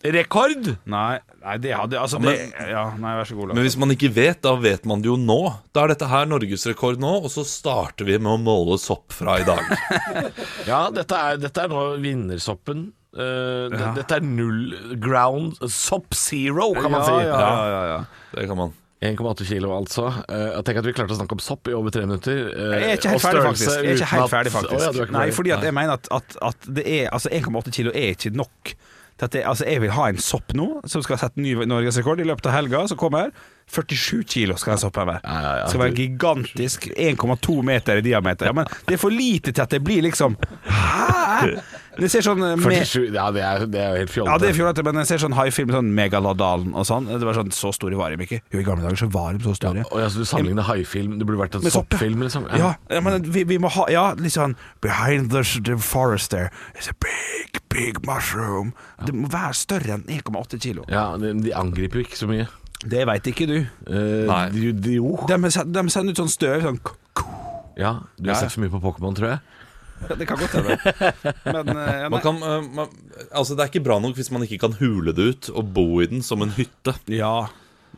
Speaker 4: verdensrekord.
Speaker 5: Nei, nei, det hadde Altså, det
Speaker 3: men-
Speaker 5: Ja, nei, vær så god,
Speaker 3: Men
Speaker 5: Lars.
Speaker 3: hvis man ikke vet, da vet man det jo nå. Da er dette her norgesrekord nå, og så starter vi med å måle sopp fra i dag.
Speaker 4: Ja, dette er, dette er nå vinnersoppen. Eh, det- Dette er null ground Sopp zero, kan man
Speaker 5: ja,
Speaker 4: si.
Speaker 5: Ja, ja, ja, ja.
Speaker 3: Det kan man.
Speaker 4: 1,8 kilo, altså. Eh, Jeg tenker at vi klarte å snakke om sopp i over tre minutter.
Speaker 5: Jeg
Speaker 4: eh,
Speaker 5: er ikke
Speaker 4: og
Speaker 5: helt ferdig,
Speaker 4: størrelse
Speaker 5: faktisk. Jeg er ikke
Speaker 4: uten
Speaker 5: helt
Speaker 4: at-
Speaker 5: ferdig, faktisk.
Speaker 4: Å, ja, du er ikke
Speaker 5: Nei,
Speaker 4: ferdig.
Speaker 5: fordi at jeg mener at, at, at det er Altså, 1,8 kilo er ikke nok. til at jeg, altså jeg vil ha en sopp nå, som skal sette ny norgesrekord i løpet av helga som kommer. 47 kilo skal den soppen være.
Speaker 4: Ja, ja, ja.
Speaker 5: Skal være gigantisk. 1,2 meter i diameter. Ja, men det er for lite til at det blir liksom Hæ?! Det ser sånn eh, med,
Speaker 4: 47, ja, det er, det er jo helt fjollete.
Speaker 5: ja, det er fjollete, men jeg ser sånn haifilm, sånn Megalodalen og sånn. Det var sånn Så store var de ikke. Jo, i gamle dager så var de så store.
Speaker 4: Oi, altså, du sammenligner haifilm Det burde vært en
Speaker 5: Med sopp, ja.
Speaker 4: soppfilm, liksom.
Speaker 5: Ja, ja men vi, vi må ha Ja, litt sånn Behind the, the forest there is a big, big mushroom. Det må være større enn 1,8 kilo.
Speaker 4: Ja, de, de angriper jo ikke så mye.
Speaker 5: Det veit ikke du.
Speaker 4: Eh,
Speaker 3: Nei.
Speaker 4: De, de, jo.
Speaker 5: De, send- de sender ut sånn støv sånn k- k-
Speaker 4: Ja, du
Speaker 5: Ja,
Speaker 4: har
Speaker 5: ja.
Speaker 4: sett for mye på Pokémon, tror jeg.
Speaker 5: Det kan godt hende. Men eh, ja,
Speaker 3: Man
Speaker 5: nei.
Speaker 3: kan, eh, man, altså Det er ikke bra nok hvis man ikke kan hule det ut og bo i den som en hytte.
Speaker 5: ja,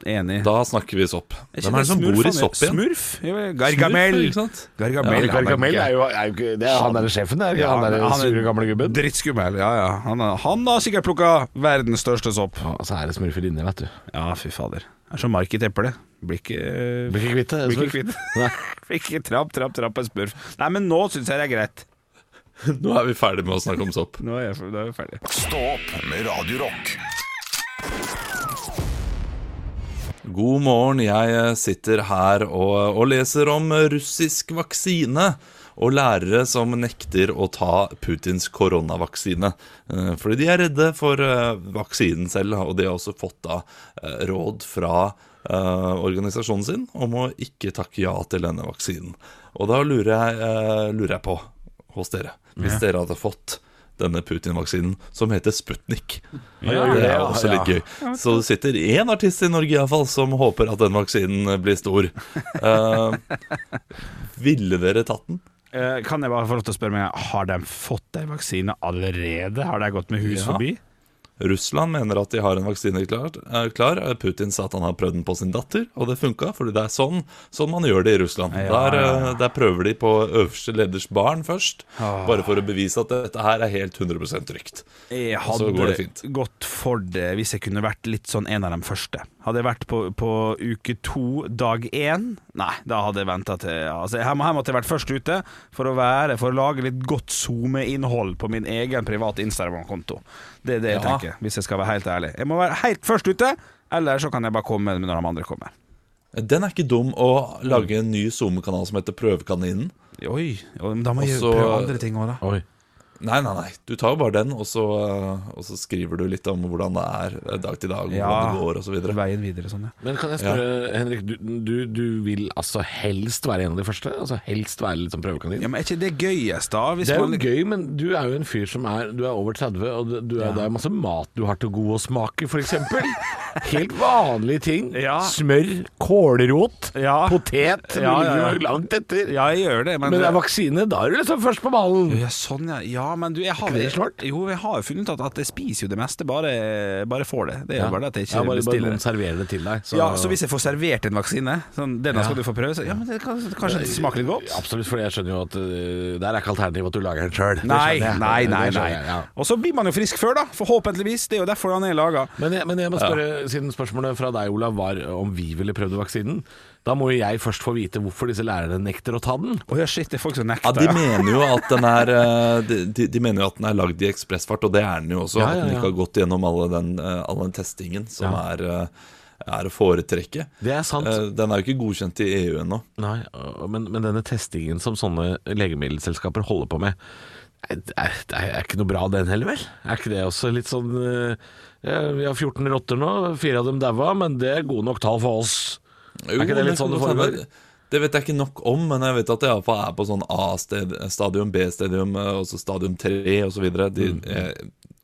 Speaker 5: enig.
Speaker 3: Da snakker vi sopp.
Speaker 5: Er ikke
Speaker 3: Hvem er det som
Speaker 5: Smurf
Speaker 3: bor i
Speaker 5: han er?
Speaker 3: sopp igjen?
Speaker 5: Smurf? Ja, Gargamel.
Speaker 3: Smurf, ikke sant?
Speaker 5: Gargamel,
Speaker 4: Ja,
Speaker 5: han
Speaker 4: Gargamel er jo er jo ikke- det er han der sjefen der. ikke? han der sure gamle gubben.
Speaker 5: Drittskummel. Ja, ja. Han, er- han har sikkert plukka verdens største sopp.
Speaker 4: Ja, Og så er det smurfer inni, vet du.
Speaker 5: Ja, fy fader. Det er som mark i et eple. Blir ikke eh,
Speaker 4: Blir ikke kvitt det.
Speaker 5: Blir
Speaker 4: smurf.
Speaker 5: ikke kvitt.
Speaker 4: Nei.
Speaker 5: Ikke trapp, trapp, trapp en smurf. Nei, men nå syns jeg det er greit.
Speaker 3: Nå er vi ferdig med å snakke om sopp.
Speaker 5: Nå er jeg, nå er jeg ferdig.
Speaker 1: Stå opp med Radio Rock.
Speaker 3: God morgen, jeg eh, sitter her og, og leser om eh, russisk vaksine. Og lærere som nekter å ta Putins koronavaksine. Eh, Fordi de er redde for eh, vaksinen selv, og de har også fått da eh, råd fra eh, organisasjonen sin om å ikke takke ja til denne vaksinen. Og da lurer jeg, eh, lurer jeg på, hos dere, hvis dere hadde fått denne Putin-vaksinen, som heter Sputnik. Det er også litt gøy. Så det sitter én artist i Norge iallfall som håper at den vaksinen blir stor. Eh, ville dere tatt den?
Speaker 5: Eh, Kan jeg bare få lov til å spørre meg, har de fått en vaksine allerede? Har de gått med hus
Speaker 3: Ja.
Speaker 5: forbi?
Speaker 3: Russland mener at de har en vaksine klar. eh, klar. Putin sa at han har prøvd den på sin datter, og det funka, fordi det er sånn, sånn man gjør det i Russland. Der, eh, der prøver de på øverste leders barn først,
Speaker 5: Ah.
Speaker 3: bare for å bevise at dette her er helt 100 trygt.
Speaker 5: Jeg
Speaker 3: Og så går det
Speaker 5: hadde
Speaker 3: fint.
Speaker 5: gått for det hvis jeg kunne vært litt sånn en av de første. Hadde jeg vært på, på uke to, dag én Nei, da hadde jeg venta til altså, her, må- her måtte jeg vært først ute for å, være, for å lage litt godt SoMe-innhold på min egen private Instagram-konto. Det er det jeg
Speaker 3: Ja.
Speaker 5: tenker, hvis jeg skal være helt ærlig. Jeg må være helt først ute, eller så kan jeg bare komme når de andre kommer.
Speaker 3: Den er ikke dum å lage en ny Zoom-kanal som heter Prøvekaninen.
Speaker 5: Oi, ja, men da må jeg
Speaker 3: Også-
Speaker 5: prøve andre ting òg, da.
Speaker 4: Oi.
Speaker 3: Nei, nei, nei. Du tar jo bare den, og så, eh, og så skriver du litt om hvordan det er eh, dag til dag, og hvordan det går, og så videre.
Speaker 5: Veien videre, sånn, ja.
Speaker 4: Men kan jeg spørre, Henrik, du, du, du vil altså helst være en av de første? Altså Helst være litt sånn prøvekanin?
Speaker 5: ja. Men er ikke det gøyest, da? Hvis
Speaker 4: det er
Speaker 5: man-
Speaker 4: jo gøy, men du er jo en fyr som er Du er over 30, og du, du er, det er masse mat du har til god å smake, f.eks. Helt vanlige ting.
Speaker 5: Ja.
Speaker 4: Smør, kålrot,
Speaker 5: Ja.
Speaker 4: potet. Du
Speaker 5: Ja, ja, ja.
Speaker 4: ligger jo langt etter.
Speaker 5: Ja, jeg gjør det, men,
Speaker 4: Men det er vaksine, da er du liksom først på ballen.
Speaker 5: Ja, sånn ja. ja men du, jeg har,
Speaker 4: Ikke det snart?
Speaker 5: jo, jeg har jo funnet ut at, at jeg spiser jo det meste, bare, bare får det. Det er jo bare det at jeg ikke
Speaker 4: Ja, bare, bare
Speaker 5: bestiller
Speaker 4: noen
Speaker 5: det.
Speaker 4: serverer det til deg.
Speaker 5: Ja, så hvis jeg får servert en vaksine, sånn, denne skal du få prøve, så ja, men det kan, kanskje det smaker litt godt?
Speaker 4: Absolutt, for jeg skjønner jo at øh, der er ikke alternativet at du lager den sjøl.
Speaker 5: Nei, nei, nei. nei.
Speaker 4: Ja.
Speaker 5: Og så blir man jo frisk før, da. Forhåpentligvis. Det er jo derfor han er laga.
Speaker 4: Men jeg, men jeg må spørre, siden spørsmålet fra deg, Olav, var om vi ville prøvd vaksinen. Da må jo jeg først få vite hvorfor disse lærerne nekter å ta den.
Speaker 5: Å ja, shit, det er folk som
Speaker 3: Ja,
Speaker 5: nekter.
Speaker 3: De
Speaker 5: Ja,
Speaker 3: mener jo at den er eh, De, de, de mener jo at den er lagd i ekspressfart, og det er den jo også.
Speaker 4: Ja, ja,
Speaker 3: At den
Speaker 4: ja.
Speaker 3: ikke har gått gjennom all den, eh, all den testingen som er, eh, er å foretrekke.
Speaker 4: Det er sant.
Speaker 3: Eh, Den er jo ikke godkjent i EU ennå.
Speaker 4: Nei, øh, men, men denne testingen som sånne legemiddelselskaper holder på med, er, er, det er ikke noe bra den heller, vel? Er ikke det også litt sånn øh, ja, Vi har 14 rotter nå, fire av dem daua, men det er gode nok tall for oss.
Speaker 3: Jo,
Speaker 4: ikke det litt
Speaker 3: kan
Speaker 4: sånn det
Speaker 3: godt hende.
Speaker 4: foregår?
Speaker 3: Det vet jeg ikke nok om, men jeg vet at det i alle fall er på sånn A-stadium, B-stadium, eh, og så stadium 3 osv.
Speaker 4: Mm.
Speaker 3: eh,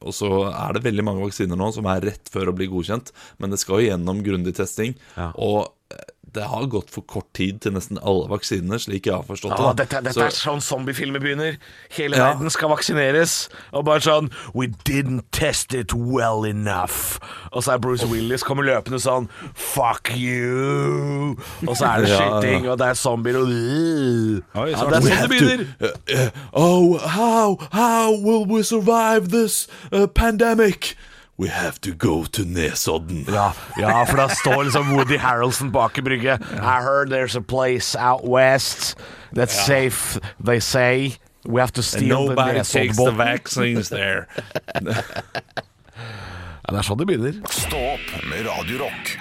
Speaker 3: Og så er det veldig mange vaksiner nå som er rett før å bli godkjent, men det skal jo gjennom grundig testing.
Speaker 4: Ja.
Speaker 3: Og eh, det har gått for kort tid til nesten alle vaksinene, slik jeg har forstått
Speaker 4: Ja,
Speaker 3: det.
Speaker 4: dette,
Speaker 3: da.
Speaker 4: dette er sånn zombiefilmer begynner. Hele
Speaker 3: Ja.
Speaker 4: verden skal vaksineres. Og bare sånn We didn't test it well enough. Og så er Bruce Willis kommer løpende sånn Fuck you! Og så er det
Speaker 3: Ja, ja.
Speaker 4: skyting, og det er zombier og
Speaker 5: Oi,
Speaker 4: ja,
Speaker 5: så
Speaker 4: Det er
Speaker 5: har
Speaker 4: sånn det begynner.
Speaker 3: Uh, uh, oh, how, how will we survive this uh, pandemic? We have to go to Nesodden.
Speaker 4: Ja, ja, for da står liksom Woody Harrelson bak i brygget. I heard there's a place out west that's safe, they say. We have to steal the
Speaker 3: Nobody
Speaker 4: Nesodden
Speaker 3: takes the
Speaker 4: boat."
Speaker 3: vaccines there.
Speaker 7: Ja, det er sånn det begynner.
Speaker 1: Stå opp med Radio Rock.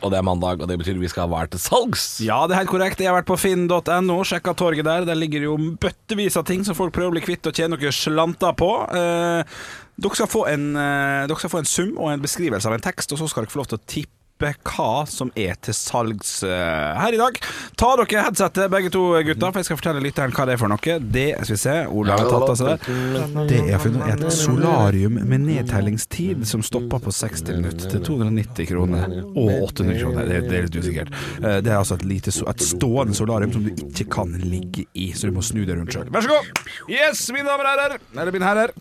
Speaker 7: Og det er mandag, og det betyr vi skal ha hver til salgs.
Speaker 5: Ja, det er helt korrekt. Jeg har vært på finn.no, sjekka torget der. Der ligger jo bøttevis av ting som folk prøver å bli kvitt og tjene noen slanter på. Eh, dere, skal få en, eh, dere skal få en sum og en beskrivelse av en tekst, og så skal dere få lov til å tippe hva som er til salgs eh, her i dag. Ta dere headsetet, begge to gutta, for jeg skal fortelle lytteren hva det er for noe. Det skal vi se. Olav har tatt av seg det. Det jeg har funnet, er et solarium med nedtellingstid som stopper på 60 minutter til 290 kroner og 800 kroner. Det, det er litt usikkert. Eh, Det er altså et, lite, so- et stående solarium som du ikke kan ligge i, så du må snu deg rundt sjøl. Vær så god! Yes, mine damer og herrer. Eller mine herrer.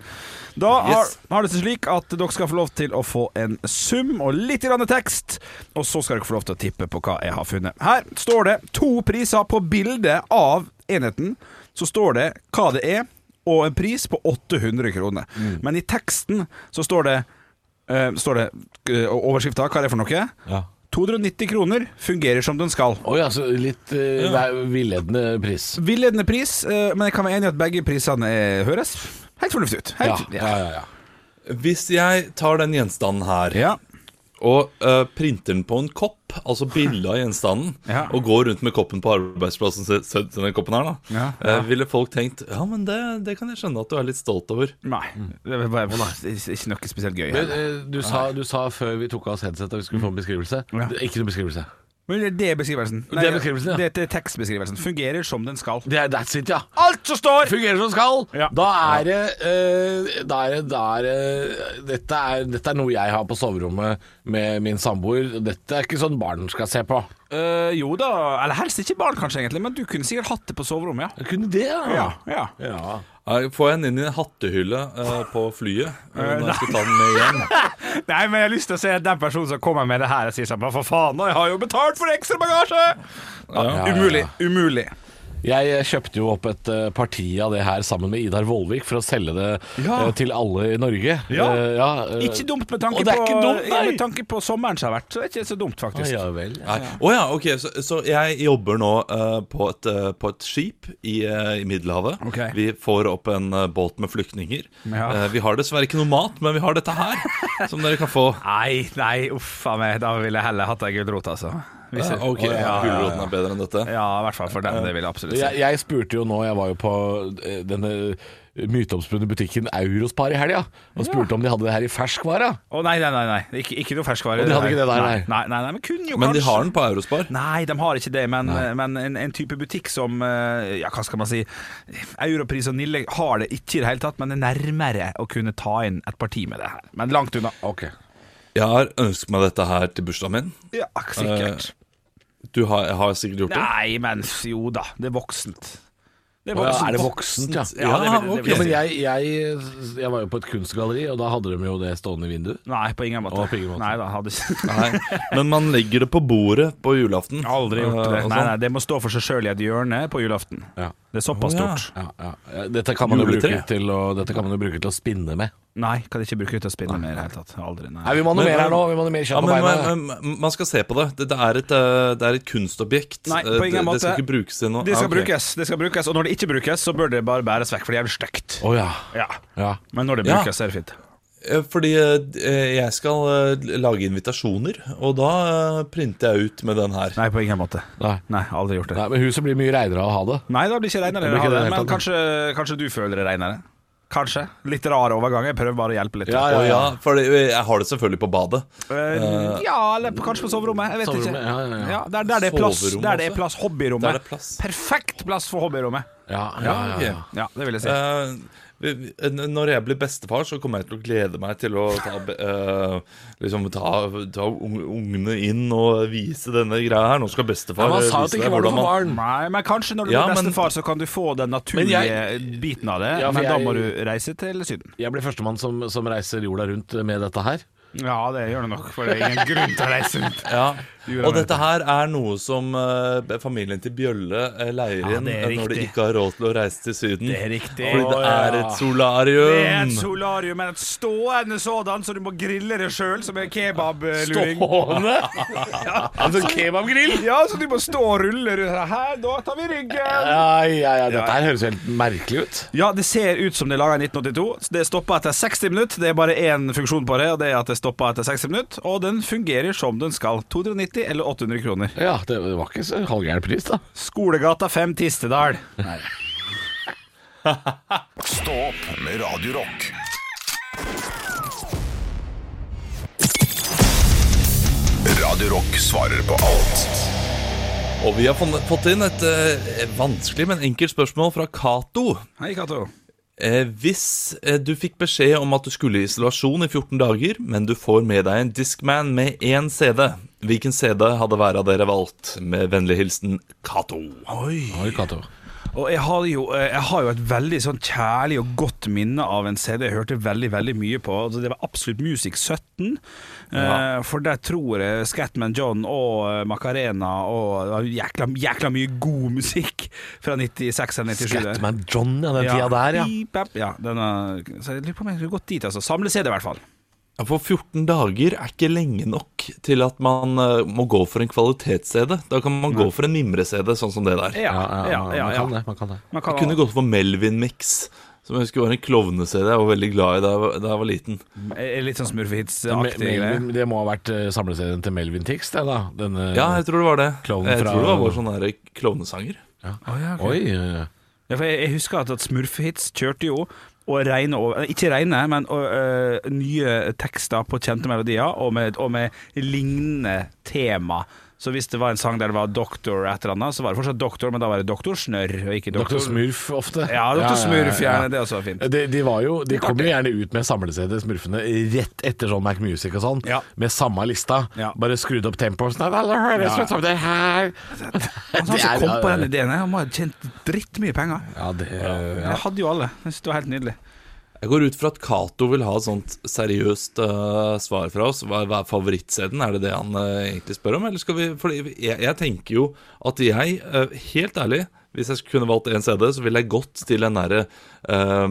Speaker 5: Da har,
Speaker 3: Yes.
Speaker 5: har det seg slik at dere skal få lov til å få en sum og litt grann tekst, og så skal dere få lov til å tippe på hva jeg har funnet. Her står det to priser på bildet av enheten. Så står det hva det er, og en pris på 800 kroner.
Speaker 7: Mm.
Speaker 5: Men i teksten så står det, eh, står det eh, Overskrifta, hva er det for noe?
Speaker 7: Ja.
Speaker 5: 290 kroner fungerer som den skal.
Speaker 7: Oi, altså litt eh, vei- villedende pris.
Speaker 5: Villedende pris, eh, men jeg kan være enig i at begge prisene er- høres helt fornuftig ut.
Speaker 7: Ja,
Speaker 5: Helt,
Speaker 7: ja, ja. ja.
Speaker 3: Hvis jeg tar den gjenstanden her
Speaker 5: ja.
Speaker 3: og eh, printer den på en kopp, altså bilde av gjenstanden,
Speaker 5: Ja.
Speaker 3: og går rundt med koppen på arbeidsplassen se- se- til den koppen her, da,
Speaker 5: Ja,
Speaker 3: eh, ville folk tenkt Ja, men det, det kan jeg skjønne at du er litt stolt over.
Speaker 5: Nei. Det er bare, det er ikke noe spesielt gøy.
Speaker 7: Mm. Men,
Speaker 5: Her.
Speaker 7: eh, du, sa, du sa før vi tok av oss headsetet at vi skulle få en beskrivelse.
Speaker 5: Ja.
Speaker 7: Det er Ikke noen beskrivelse.
Speaker 5: Men det er beskrivelsen.
Speaker 7: Det er beskrivelsen, ja.
Speaker 5: det er tekstbeskrivelsen. Fungerer som den skal.
Speaker 7: Det er that's it, ja.
Speaker 5: Alt som står!
Speaker 7: Fungerer som skal.
Speaker 5: Ja.
Speaker 7: Da er det eh, Da er det, da er det dette, er, dette er noe jeg har på soverommet med min samboer. Dette er ikke sånn barn skal se på.
Speaker 5: Eh, jo da, eller helst ikke barn kanskje egentlig, men du kunne sikkert hatt det på soverommet, ja.
Speaker 7: Jeg kunne det,
Speaker 5: Ja, ja.
Speaker 7: ja.
Speaker 3: Eh, Får jeg den inn i en hattehylle eh, på flyet eh, når jeg skal ta den med hjem?
Speaker 8: Nei, men jeg har lyst til å se den personen som kommer med det her og sier sånn Hva for faen, da? Jeg har jo betalt for ekstra bagasje!
Speaker 7: Ja, ja,
Speaker 5: Umulig.
Speaker 7: ja.
Speaker 5: Umulig.
Speaker 7: Jeg kjøpte jo opp et eh, parti av det her sammen med Idar Vollvik for å selge det
Speaker 5: Ja.
Speaker 7: eh, til alle i Norge.
Speaker 5: Ja.
Speaker 7: Eh, ja, eh,
Speaker 5: Ikke dumt med tanke,
Speaker 7: Og det er
Speaker 5: på,
Speaker 7: ikke dumt, nei.
Speaker 5: med tanke på sommeren som har vært. Så det er ikke så dumt,
Speaker 7: Ah,
Speaker 5: faktisk.
Speaker 7: ja vel.
Speaker 3: Å ja. ok. Så, så jeg jobber nå eh, på, et, eh, på et skip i, eh, i Middelhavet.
Speaker 5: Ok.
Speaker 3: Vi får opp en eh, båt med flyktninger.
Speaker 5: Ja.
Speaker 3: Eh, vi har dessverre ikke noe mat, men vi har dette her, som dere kan få.
Speaker 5: Nei, nei, uff a meg. Da ville jeg heller hatt ei gulrot, altså. Hvis
Speaker 3: Eh,
Speaker 5: jeg-
Speaker 3: ok,
Speaker 5: Å, ja, ja,
Speaker 3: Gulroten er bedre enn dette.
Speaker 5: ja. ja, i hvert fall for den. Det vil jeg absolutt si.
Speaker 7: Jeg, jeg spurte jo nå, jeg var jo på eh, denne myteomspunne butikken Eurospar i helga, og spurte om de hadde det her i ferskvara.
Speaker 5: Å nei, nei, nei, nei. Ikke, ikke noe ferskvare.
Speaker 7: Og de hadde ikke det der,
Speaker 5: nei.
Speaker 7: nei.
Speaker 5: Nei, nei, nei, men kunne jo
Speaker 3: Men de
Speaker 5: kanskje-
Speaker 3: har den på Eurospar.
Speaker 5: Nei, de har ikke det, men, men en, en type butikk som eh, Ja, hva skal man si Europris og Nille har det ikke i det hele tatt, men det er nærmere å kunne ta inn et parti med det her. Men langt unna.
Speaker 3: Jeg har ønsket meg dette her til bursdagen min.
Speaker 5: Ja, sikkert.
Speaker 7: Eh,
Speaker 3: Du har, jeg har sikkert gjort det?
Speaker 5: Nei, men f- jo da. Det er voksent. Det
Speaker 7: Å ja, er det voksent, ja?
Speaker 3: Ja, det vil- det vil
Speaker 7: Ja,
Speaker 3: jeg
Speaker 7: men
Speaker 3: si.
Speaker 7: jeg, jeg, jeg var jo på et kunstgalleri, og da hadde de jo det stående i vinduet.
Speaker 5: Nei, på ingen måte.
Speaker 7: Å, på ingen måte.
Speaker 5: Nei da, hadde ikke
Speaker 3: Nei. Men man legger det på bordet på julaften.
Speaker 5: Aldri gjort
Speaker 3: Eh,
Speaker 5: det.
Speaker 3: og
Speaker 5: Nei,
Speaker 3: sånn.
Speaker 5: nei, det må stå for seg sjøl i et hjørne på julaften.
Speaker 7: Ja.
Speaker 5: Det er såpass
Speaker 3: Å, ja.
Speaker 5: stort.
Speaker 7: Ja, ja. Dette, kan man jo
Speaker 3: Juletre.
Speaker 7: bruke til å, dette kan man jo bruke til å spinne med.
Speaker 5: Nei, kan ikke bruke ut og spinne mer i det hele tatt. Aldri. Nei.
Speaker 7: Nei, vi må noe
Speaker 3: Men-
Speaker 7: mer her
Speaker 3: men-
Speaker 7: nå. Vi må noe mer
Speaker 3: Ja,
Speaker 7: kjøtt på
Speaker 3: men,
Speaker 7: beina.
Speaker 3: men, men man skal se på det. Det, det, er, et, eh, det er et kunstobjekt.
Speaker 5: Nei, på
Speaker 3: Eh, det,
Speaker 5: ingen
Speaker 3: det skal
Speaker 5: måte.
Speaker 3: ikke brukes til noe.
Speaker 5: Det skal,
Speaker 3: Ja, ok.
Speaker 5: brukes, det skal brukes, og når det ikke brukes, så bør det bare bæres vekk, for det er stygt.
Speaker 7: Å ja.
Speaker 5: Ja.
Speaker 7: ja.
Speaker 5: Men når det
Speaker 3: Ja.
Speaker 5: brukes, er det fint.
Speaker 3: Eh, Fordi eh, jeg skal eh, lage invitasjoner, og da eh, printer jeg ut med den her.
Speaker 5: Nei, på ingen måte.
Speaker 7: Nei.
Speaker 5: Nei, aldri gjort det.
Speaker 7: Nei, men huset blir mye reinere av å ha det.
Speaker 5: Nei, da blir ikke
Speaker 7: Det
Speaker 5: reinere,
Speaker 7: blir ikke
Speaker 5: av det,
Speaker 7: det i det hele
Speaker 5: men
Speaker 7: tatt.
Speaker 5: kanskje, kanskje du føler det reinere. Kanskje. Litt rar overgang, jeg prøver bare å hjelpe litt.
Speaker 7: Ja,
Speaker 3: Og ja, for det- jeg har det selvfølgelig på badet.
Speaker 5: Eh, ja eller på- kanskje på soverommet. Jeg vet ikke.
Speaker 7: Soverommet, ja, ja, ja.
Speaker 5: der, der det er plass.
Speaker 3: Soverommet
Speaker 5: Der det er
Speaker 3: også.
Speaker 5: plass.
Speaker 3: Der
Speaker 5: Hobbyrommet.
Speaker 3: er det plass.
Speaker 5: Perfekt plass for hobbyrommet.
Speaker 7: Ja, ja, ja, ja.
Speaker 5: Ja, det vil jeg si.
Speaker 3: Eh, vi- vi- n- når jeg blir bestefar, så kommer jeg til å glede meg til å ta, be- eh, liksom, ta, ta ung- ungene inn og vise denne greia her. Nå skal bestefar
Speaker 7: Men han
Speaker 3: eh,
Speaker 7: sa jo at
Speaker 3: vise
Speaker 7: det
Speaker 3: deg
Speaker 7: ikke var
Speaker 3: hvordan
Speaker 7: noe for
Speaker 3: man
Speaker 7: barn.
Speaker 5: Nei, men kanskje når du
Speaker 3: Ja,
Speaker 5: blir
Speaker 3: men-
Speaker 5: bestefar, så kan du få den naturlige
Speaker 7: Men
Speaker 5: biten av det,
Speaker 7: Ja, for
Speaker 5: men da
Speaker 7: jeg-
Speaker 5: må du reise til Syden.
Speaker 7: Jeg blir førstemann som, som reiser jorda rundt med dette her.
Speaker 5: Ja, det gjør det nok, for det er ingen grunn til å reise rundt.
Speaker 3: Ja.
Speaker 5: gjorde
Speaker 3: Og
Speaker 5: han
Speaker 3: dette her er noe som eh, familien til Bjølle eh, leier
Speaker 5: Ja,
Speaker 3: inn
Speaker 5: det er
Speaker 3: eh, når de
Speaker 5: riktig.
Speaker 3: ikke har råd til å reise til Syden.
Speaker 5: Det er riktig.
Speaker 3: Fordi det
Speaker 5: Å,
Speaker 3: er
Speaker 5: ja.
Speaker 3: et solarium.
Speaker 5: Det er et solarium, men et stående sådan, så du må grille det sjøl, som en kebabluring.
Speaker 7: Stående! En sånn kebabgrill!
Speaker 5: Ja, så du må stå og rulle rundt. Her, da tar vi ryggen.
Speaker 7: Ja, ja, ja, dette her høres helt merkelig ut.
Speaker 5: Ja, det ser ut som det er laga i 1982. Så Det stopper etter 60 minutter. Det er bare én funksjon på det, og det er at det stopper etter 60 minutter. Og den fungerer som den skal. 290 eller 800 kroner.
Speaker 7: Ja, det var ikke så halvgæren pris, da.
Speaker 5: Skolegata 5 Tistedal.
Speaker 1: Stå opp med Radio Rock. Radio Rock svarer på alt.
Speaker 3: Og vi har fått- fått inn et eh, vanskelig, men enkelt spørsmål fra Cato.
Speaker 5: Hei, Cato.
Speaker 3: Eh, hvis eh, du fikk beskjed om at du skulle i isolasjon i 14 dager, men du får med deg en Discman med én CD, hvilken CD hadde hver av dere valgt? Med vennlig hilsen Cato.
Speaker 7: Oi, Cato.
Speaker 5: Og jeg har, jo, eh, jeg har jo et veldig sånn kjærlig og godt minne av en CD jeg hørte veldig veldig mye på. Altså, det var Absolutt Music 17.
Speaker 3: Ja.
Speaker 5: Eh, For der tror jeg Scatman John og eh, Macarena og det var jækla, jækla mye god musikk fra 96 eller 97. der.
Speaker 7: Scatman John, ja, den tida der, ja.
Speaker 5: Pip, pap, ja den er, så jeg lurer på om jeg skulle gått dit, altså. Samle-CD, i hvert fall.
Speaker 3: Ja, For 14 dager er ikke lenge nok til at man eh, må gå for en kvalitets-CD. Da kan man gå for en mimre-CD, sånn som det der.
Speaker 5: Ja, ja,
Speaker 7: man-
Speaker 5: ja.
Speaker 7: Man
Speaker 5: ja.
Speaker 7: kan det. Man kan det.
Speaker 5: Man
Speaker 3: Jeg kunne gått for Melvin-mix, som jeg husker var en klovne-CD jeg var veldig glad i da jeg var, da jeg var liten.
Speaker 5: Eh, Litt sånn
Speaker 7: Me-
Speaker 5: smurfehits-aktig. greier.
Speaker 7: Melvin, det må ha vært eh, samleserien til Melvin Tix, det, da. Denne,
Speaker 3: Ja, jeg tror det var det.
Speaker 7: Klovn
Speaker 3: jeg
Speaker 7: fra-
Speaker 3: tror det var vår sånn der klovnesanger.
Speaker 7: Oi. eh,
Speaker 5: Ja, for jeg, jeg husker at, at Smurfehits kjørte jo og regne over, ikke regne, men og, øh, nye tekster på kjente melodier, og med, og med lignende tema. Så hvis det var en sang der det var doktor et eller annet, så var det fortsatt doktor, men da var det doktor Snørr, og ikke doktor
Speaker 7: Dr. Smurf ofte.
Speaker 5: Ja, Dr. Smurf, gjerne. Det også var fint.
Speaker 7: De, de, var jo, de kom jo gjerne ut med samle-CD, Smurfene, rett etter sånn Mac Music og sånn,
Speaker 5: Ja.
Speaker 7: med samme lista.
Speaker 5: Ja.
Speaker 7: Bare skrudd opp tempoet sånn «Nei, det høres ut som det her
Speaker 5: Han
Speaker 7: Det er-
Speaker 5: som kom på den ideen, han må ha tjent drittmye penger.
Speaker 7: Ja, det
Speaker 5: Jeg hadde jo alle. Jeg synes det var helt nydelig.
Speaker 3: Jeg går ut fra at Cato vil ha et sånt seriøst eh, svar fra oss. Hva, hva er favorittseden? Er det det han eh, egentlig spør om? Eller skal vi Fordi vi- jeg, jeg tenker jo at jeg, eh, helt ærlig hvis jeg kunne valgt én CD, så ville jeg gått til den derre eh,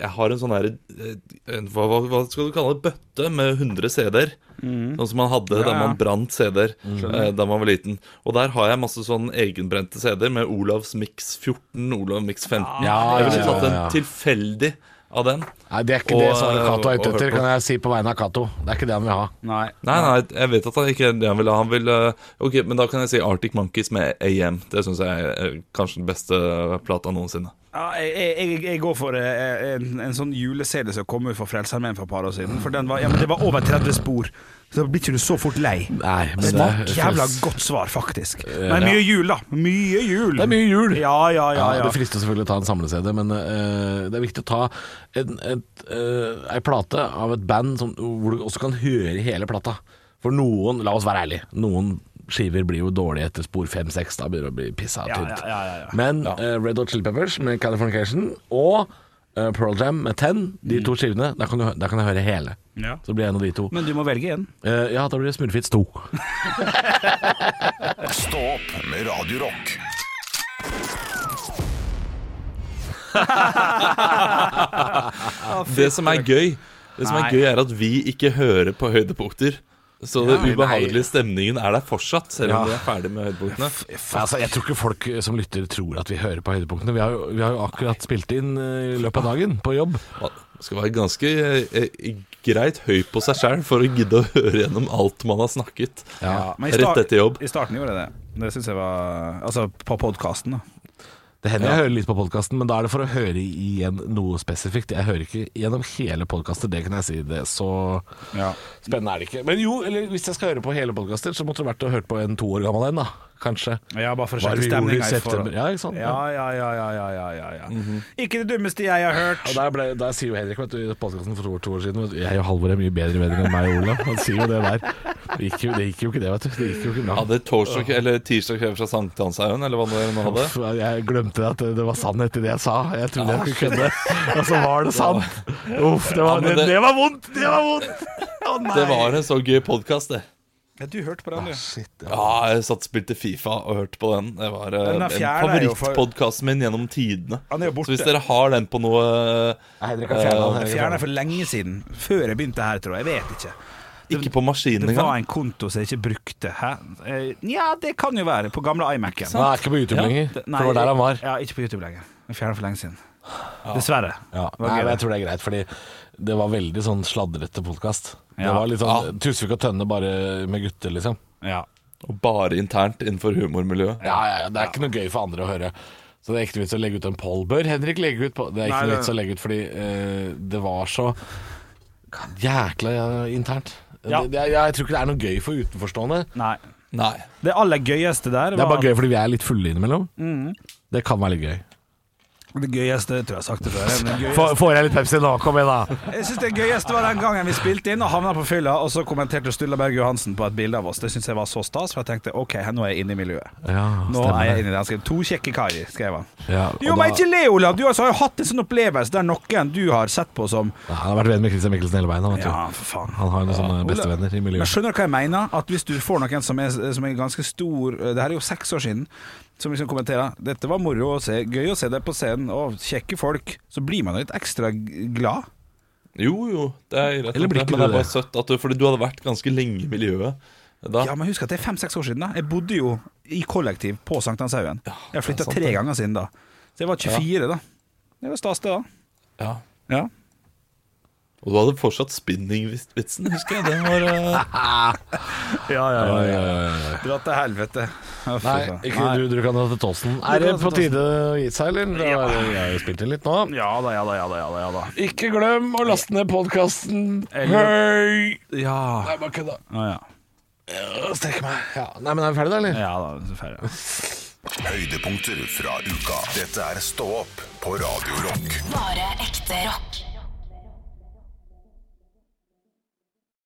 Speaker 3: Jeg har en sånn derre eh, en- hva, hva- hva skal du kalle det? Bøtte med 100 CD-er. Sånn som man hadde da
Speaker 5: Mm. ja. Mm.
Speaker 3: man brant CD-er eh, da man var liten. Og der har jeg masse sånn egenbrente CD-er med Olavs Mix 14, Olav Mix 15.
Speaker 7: Ja,
Speaker 3: jeg
Speaker 7: ja,
Speaker 3: ville
Speaker 7: ja,
Speaker 3: tatt en
Speaker 7: ja.
Speaker 3: tilfeldig av den.
Speaker 7: Nei, det er ikke
Speaker 3: Og,
Speaker 7: det svaret Cato er
Speaker 3: og
Speaker 7: ute etter,
Speaker 3: hørt på.
Speaker 7: kan jeg si på vegne av Cato. Det er ikke det han vil ha.
Speaker 5: Nei.
Speaker 3: Nei, nei, jeg vet at han ikke er det han vil ha. Han vil eh, Ok, men da kan jeg si Arctic Monkeys med AM. Det syns jeg er kanskje den beste plata noensinne.
Speaker 5: Ja, jeg, jeg, jeg- jeg går for eh, en, en sånn jule-CD som kom ut for Frelsesarmeen for et par år siden. For den var, ja, men det var over 30 spor, så da blir ikke du så fort lei.
Speaker 7: Nei,
Speaker 5: Det
Speaker 7: det,
Speaker 5: var et jævla godt svar, faktisk. Men mye jul, da. Mye jul.
Speaker 7: det er mye jul.
Speaker 5: Ja, ja, ja.
Speaker 7: Ja,
Speaker 5: ja.
Speaker 7: Det frister selvfølgelig å ta en samle-CD, men eh, det er viktig å ta en, et, eh, ei plate av et band som, hvor du også kan høre hele plata. For noen, la oss være ærlige, noen skiver blir jo dårlige etter spor 5-6. Da begynner det å bli pissa
Speaker 5: Ja,
Speaker 7: tynt.
Speaker 5: ja, ja, ja, ja.
Speaker 7: Men eh, Red Hot Chili Peppers med Californication og eh, Pearl Jam med Ten, de to skivene, der kan, du, hø- der kan jeg høre hele.
Speaker 5: Mm. Ja.
Speaker 7: Så blir jeg en av de to.
Speaker 5: Men du må velge en.
Speaker 7: Eh, ja, da blir det Smurfits 2.
Speaker 1: Stå opp med Radio Rock.
Speaker 3: Det som er gøy, det som
Speaker 5: Nei.
Speaker 3: er gøy er at vi ikke hører på høydepunkter. Så den ubehagelige stemningen er der fortsatt, selv om vi er ferdig med høydepunktene.
Speaker 7: Altså, jeg tror ikke folk som lytter tror at vi hører på høydepunktene. Vi har jo, vi har jo akkurat spilt inn eh, i løpet av dagen på jobb.
Speaker 3: Man skal være ganske eh, greit høy på seg sjæl for å gidde å høre gjennom alt man har snakket.
Speaker 5: Ja, men i
Speaker 3: Rett
Speaker 5: start-
Speaker 3: etter jobb.
Speaker 5: I starten gjorde jeg det. Det syns jeg var Altså, på podkasten, da.
Speaker 7: Det hender jeg hører litt på podkasten, men da er det for å høre igjen noe spesifikt. Jeg hører ikke gjennom hele podkaster, det kan jeg si. Det er så
Speaker 5: Ja.
Speaker 7: spennende er det ikke. Men jo, eller hvis jeg skal høre på hele podkaster, så måtte det vært å høre på en to år gammel en, da. Kanskje.
Speaker 5: Ja, bare for å
Speaker 7: Hva
Speaker 5: sjekke
Speaker 7: er det vi gjorde i
Speaker 5: stemninga.
Speaker 7: september? Ja, ikke sant? Mhm.
Speaker 5: Ja, ja, ja, ja, ja, ja, ja, ja. Ikke det dummeste jeg har hørt.
Speaker 7: Og der, ble, der sier jo Henrik vet du, i podkasten for to år, to år siden vet du, Jeg og Halvor er mye bedre venner enn meg og Olav. Han sier jo det der. Det gikk jo, det gikk jo ikke det, vet du. Det gikk jo ikke bra.
Speaker 3: Hadde torsdag eller tirsdag kveld fra Sankthanshaugen, eller hva det nå hadde.
Speaker 7: Uff, jeg glemte at det var sannhet i det jeg sa. Jeg trodde jeg skulle kødde, og så var det sant. Uff, det
Speaker 3: Ja,
Speaker 7: var,
Speaker 3: men
Speaker 7: det,
Speaker 3: det-
Speaker 7: det var vondt! Det var vondt!
Speaker 3: Det var en så gøy podkast, det.
Speaker 5: Ja, du hørte på den, du.
Speaker 9: Shit.
Speaker 3: Ja, jeg satt og spilte Fifa og hørte på den. Det var eh,
Speaker 5: Den er
Speaker 3: en
Speaker 5: fjern, er jo for-
Speaker 3: favorittpodkasten min gjennom tidene.
Speaker 5: Han er jo borte.
Speaker 3: Så hvis dere har den på noe eh,
Speaker 9: Nei, dere kan fjerne den.
Speaker 5: Jeg
Speaker 9: dere kan
Speaker 5: fjerna for lenge siden. Før jeg begynte her, tror jeg. Jeg vet ikke.
Speaker 3: Ikke på maskinen
Speaker 5: Det var
Speaker 3: engang.
Speaker 5: en konto som jeg ikke brukte. Hæ? Eh, Ja, det kan jo være. På gamle iMac-en.
Speaker 7: Han er ikke på YouTube
Speaker 3: Ja,
Speaker 7: lenger.
Speaker 5: Det-
Speaker 7: for det var der han var.
Speaker 5: Ja, ikke på YouTube lenger. Jeg fjerna for lenge siden. Dessverre.
Speaker 7: Ja,
Speaker 5: var gøy,
Speaker 7: nei, men jeg
Speaker 5: det.
Speaker 7: tror det er greit, fordi det var veldig sånn sladrete podkast. Det
Speaker 5: Ja.
Speaker 7: var litt sånn Tusvik og Tønne bare med gutter, liksom.
Speaker 5: Ja.
Speaker 3: Og bare internt innenfor humormiljøet.
Speaker 7: Ja, ja, ja, Det er ikke noe gøy for andre å høre. Så det er ikke noe vits å legge ut en poll. Bør Henrik legge ut på Det er ikke
Speaker 5: Nei,
Speaker 7: noe
Speaker 5: det-
Speaker 7: vits å legge ut fordi eh, det var så jækla eh, internt.
Speaker 5: Ja.
Speaker 7: Det, det, er- jeg tror ikke det er noe gøy for utenforstående.
Speaker 5: Nei.
Speaker 3: Nei.
Speaker 5: Det aller gøyeste der var
Speaker 7: Det er bare gøy fordi vi er litt fulle innimellom. Det kan være litt gøy.
Speaker 5: Det gøyeste tror jeg jeg har sagt det før. men det gøyeste-
Speaker 7: Får, får jeg litt Pepsi nå? Kom igjen, da.
Speaker 5: Jeg synes det gøyeste var den gangen vi spilte inn og havna på fylla, og så kommenterte Sturla Berg Johansen på et bilde av oss. Det syns jeg var så stas, for jeg tenkte OK, her nå er jeg inne i miljøet.
Speaker 7: Ja,
Speaker 5: Nå er jeg inne i den. skrev- To kjekke karer, skrev han.
Speaker 7: Ja, og
Speaker 5: Jo, men
Speaker 7: da-
Speaker 5: ikke le, Olav. Du altså, har jo hatt en sånn opplevelse der noen du har sett på som
Speaker 7: Ja, Han har vært venn med Christian Mikkelsen hele veien. Han, vet du.
Speaker 5: Ja, for faen.
Speaker 7: han har jo noen sånne bestevenner i
Speaker 5: Men
Speaker 7: miljøet.
Speaker 5: skjønner du hva jeg mener? At hvis du får noen som er, som er ganske stor eh, Det her er jo seks år siden. Som liksom kommenterer 'Dette var moro å se. Gøy å se deg på scenen, og kjekke folk.' Så blir man litt ekstra g- glad.
Speaker 3: Jo, jo, det er greit.
Speaker 7: Eller blir
Speaker 3: nok
Speaker 7: ikke
Speaker 3: det, men det
Speaker 7: du
Speaker 3: er bare
Speaker 7: det?
Speaker 3: søtt at du Fordi du hadde vært ganske lenge i miljøet da.
Speaker 5: Ja, men husk at det er fem-seks år siden. da Jeg bodde jo i kollektiv på Sankthanshaugen. Jeg har flytta
Speaker 3: sant,
Speaker 5: tre ganger siden da. Så jeg var 24 da. Det var stas, det, da.
Speaker 3: Ja.
Speaker 5: Ja.
Speaker 3: Og du hadde fortsatt spinningvitsen, husker jeg. Den var eh,
Speaker 5: Ja, ja,
Speaker 7: Ja, ja, ja, ja.
Speaker 5: Dra til helvete. Å, fy
Speaker 7: altså. Nei,
Speaker 5: faen.
Speaker 7: ikke du, du kan dra til Tåsen. Er det på tide å gi seg, eller? Da har jeg- jeg har jo spilt inn litt nå.
Speaker 5: Ja da, ja da, ja da. Ja da, ja da.
Speaker 7: Ikke glem å laste ned podkasten. Hei!
Speaker 5: Eller- Ja.
Speaker 7: Nei, bare kødda.
Speaker 5: Å, ja.
Speaker 7: Strekke meg. Ja. Nei, men er vi ferdige, da, eller?
Speaker 5: ja da, så ferdig.
Speaker 1: Høydepunkter fra uka. Dette er Stå opp på Radio Rock.
Speaker 2: Bare ekte rock.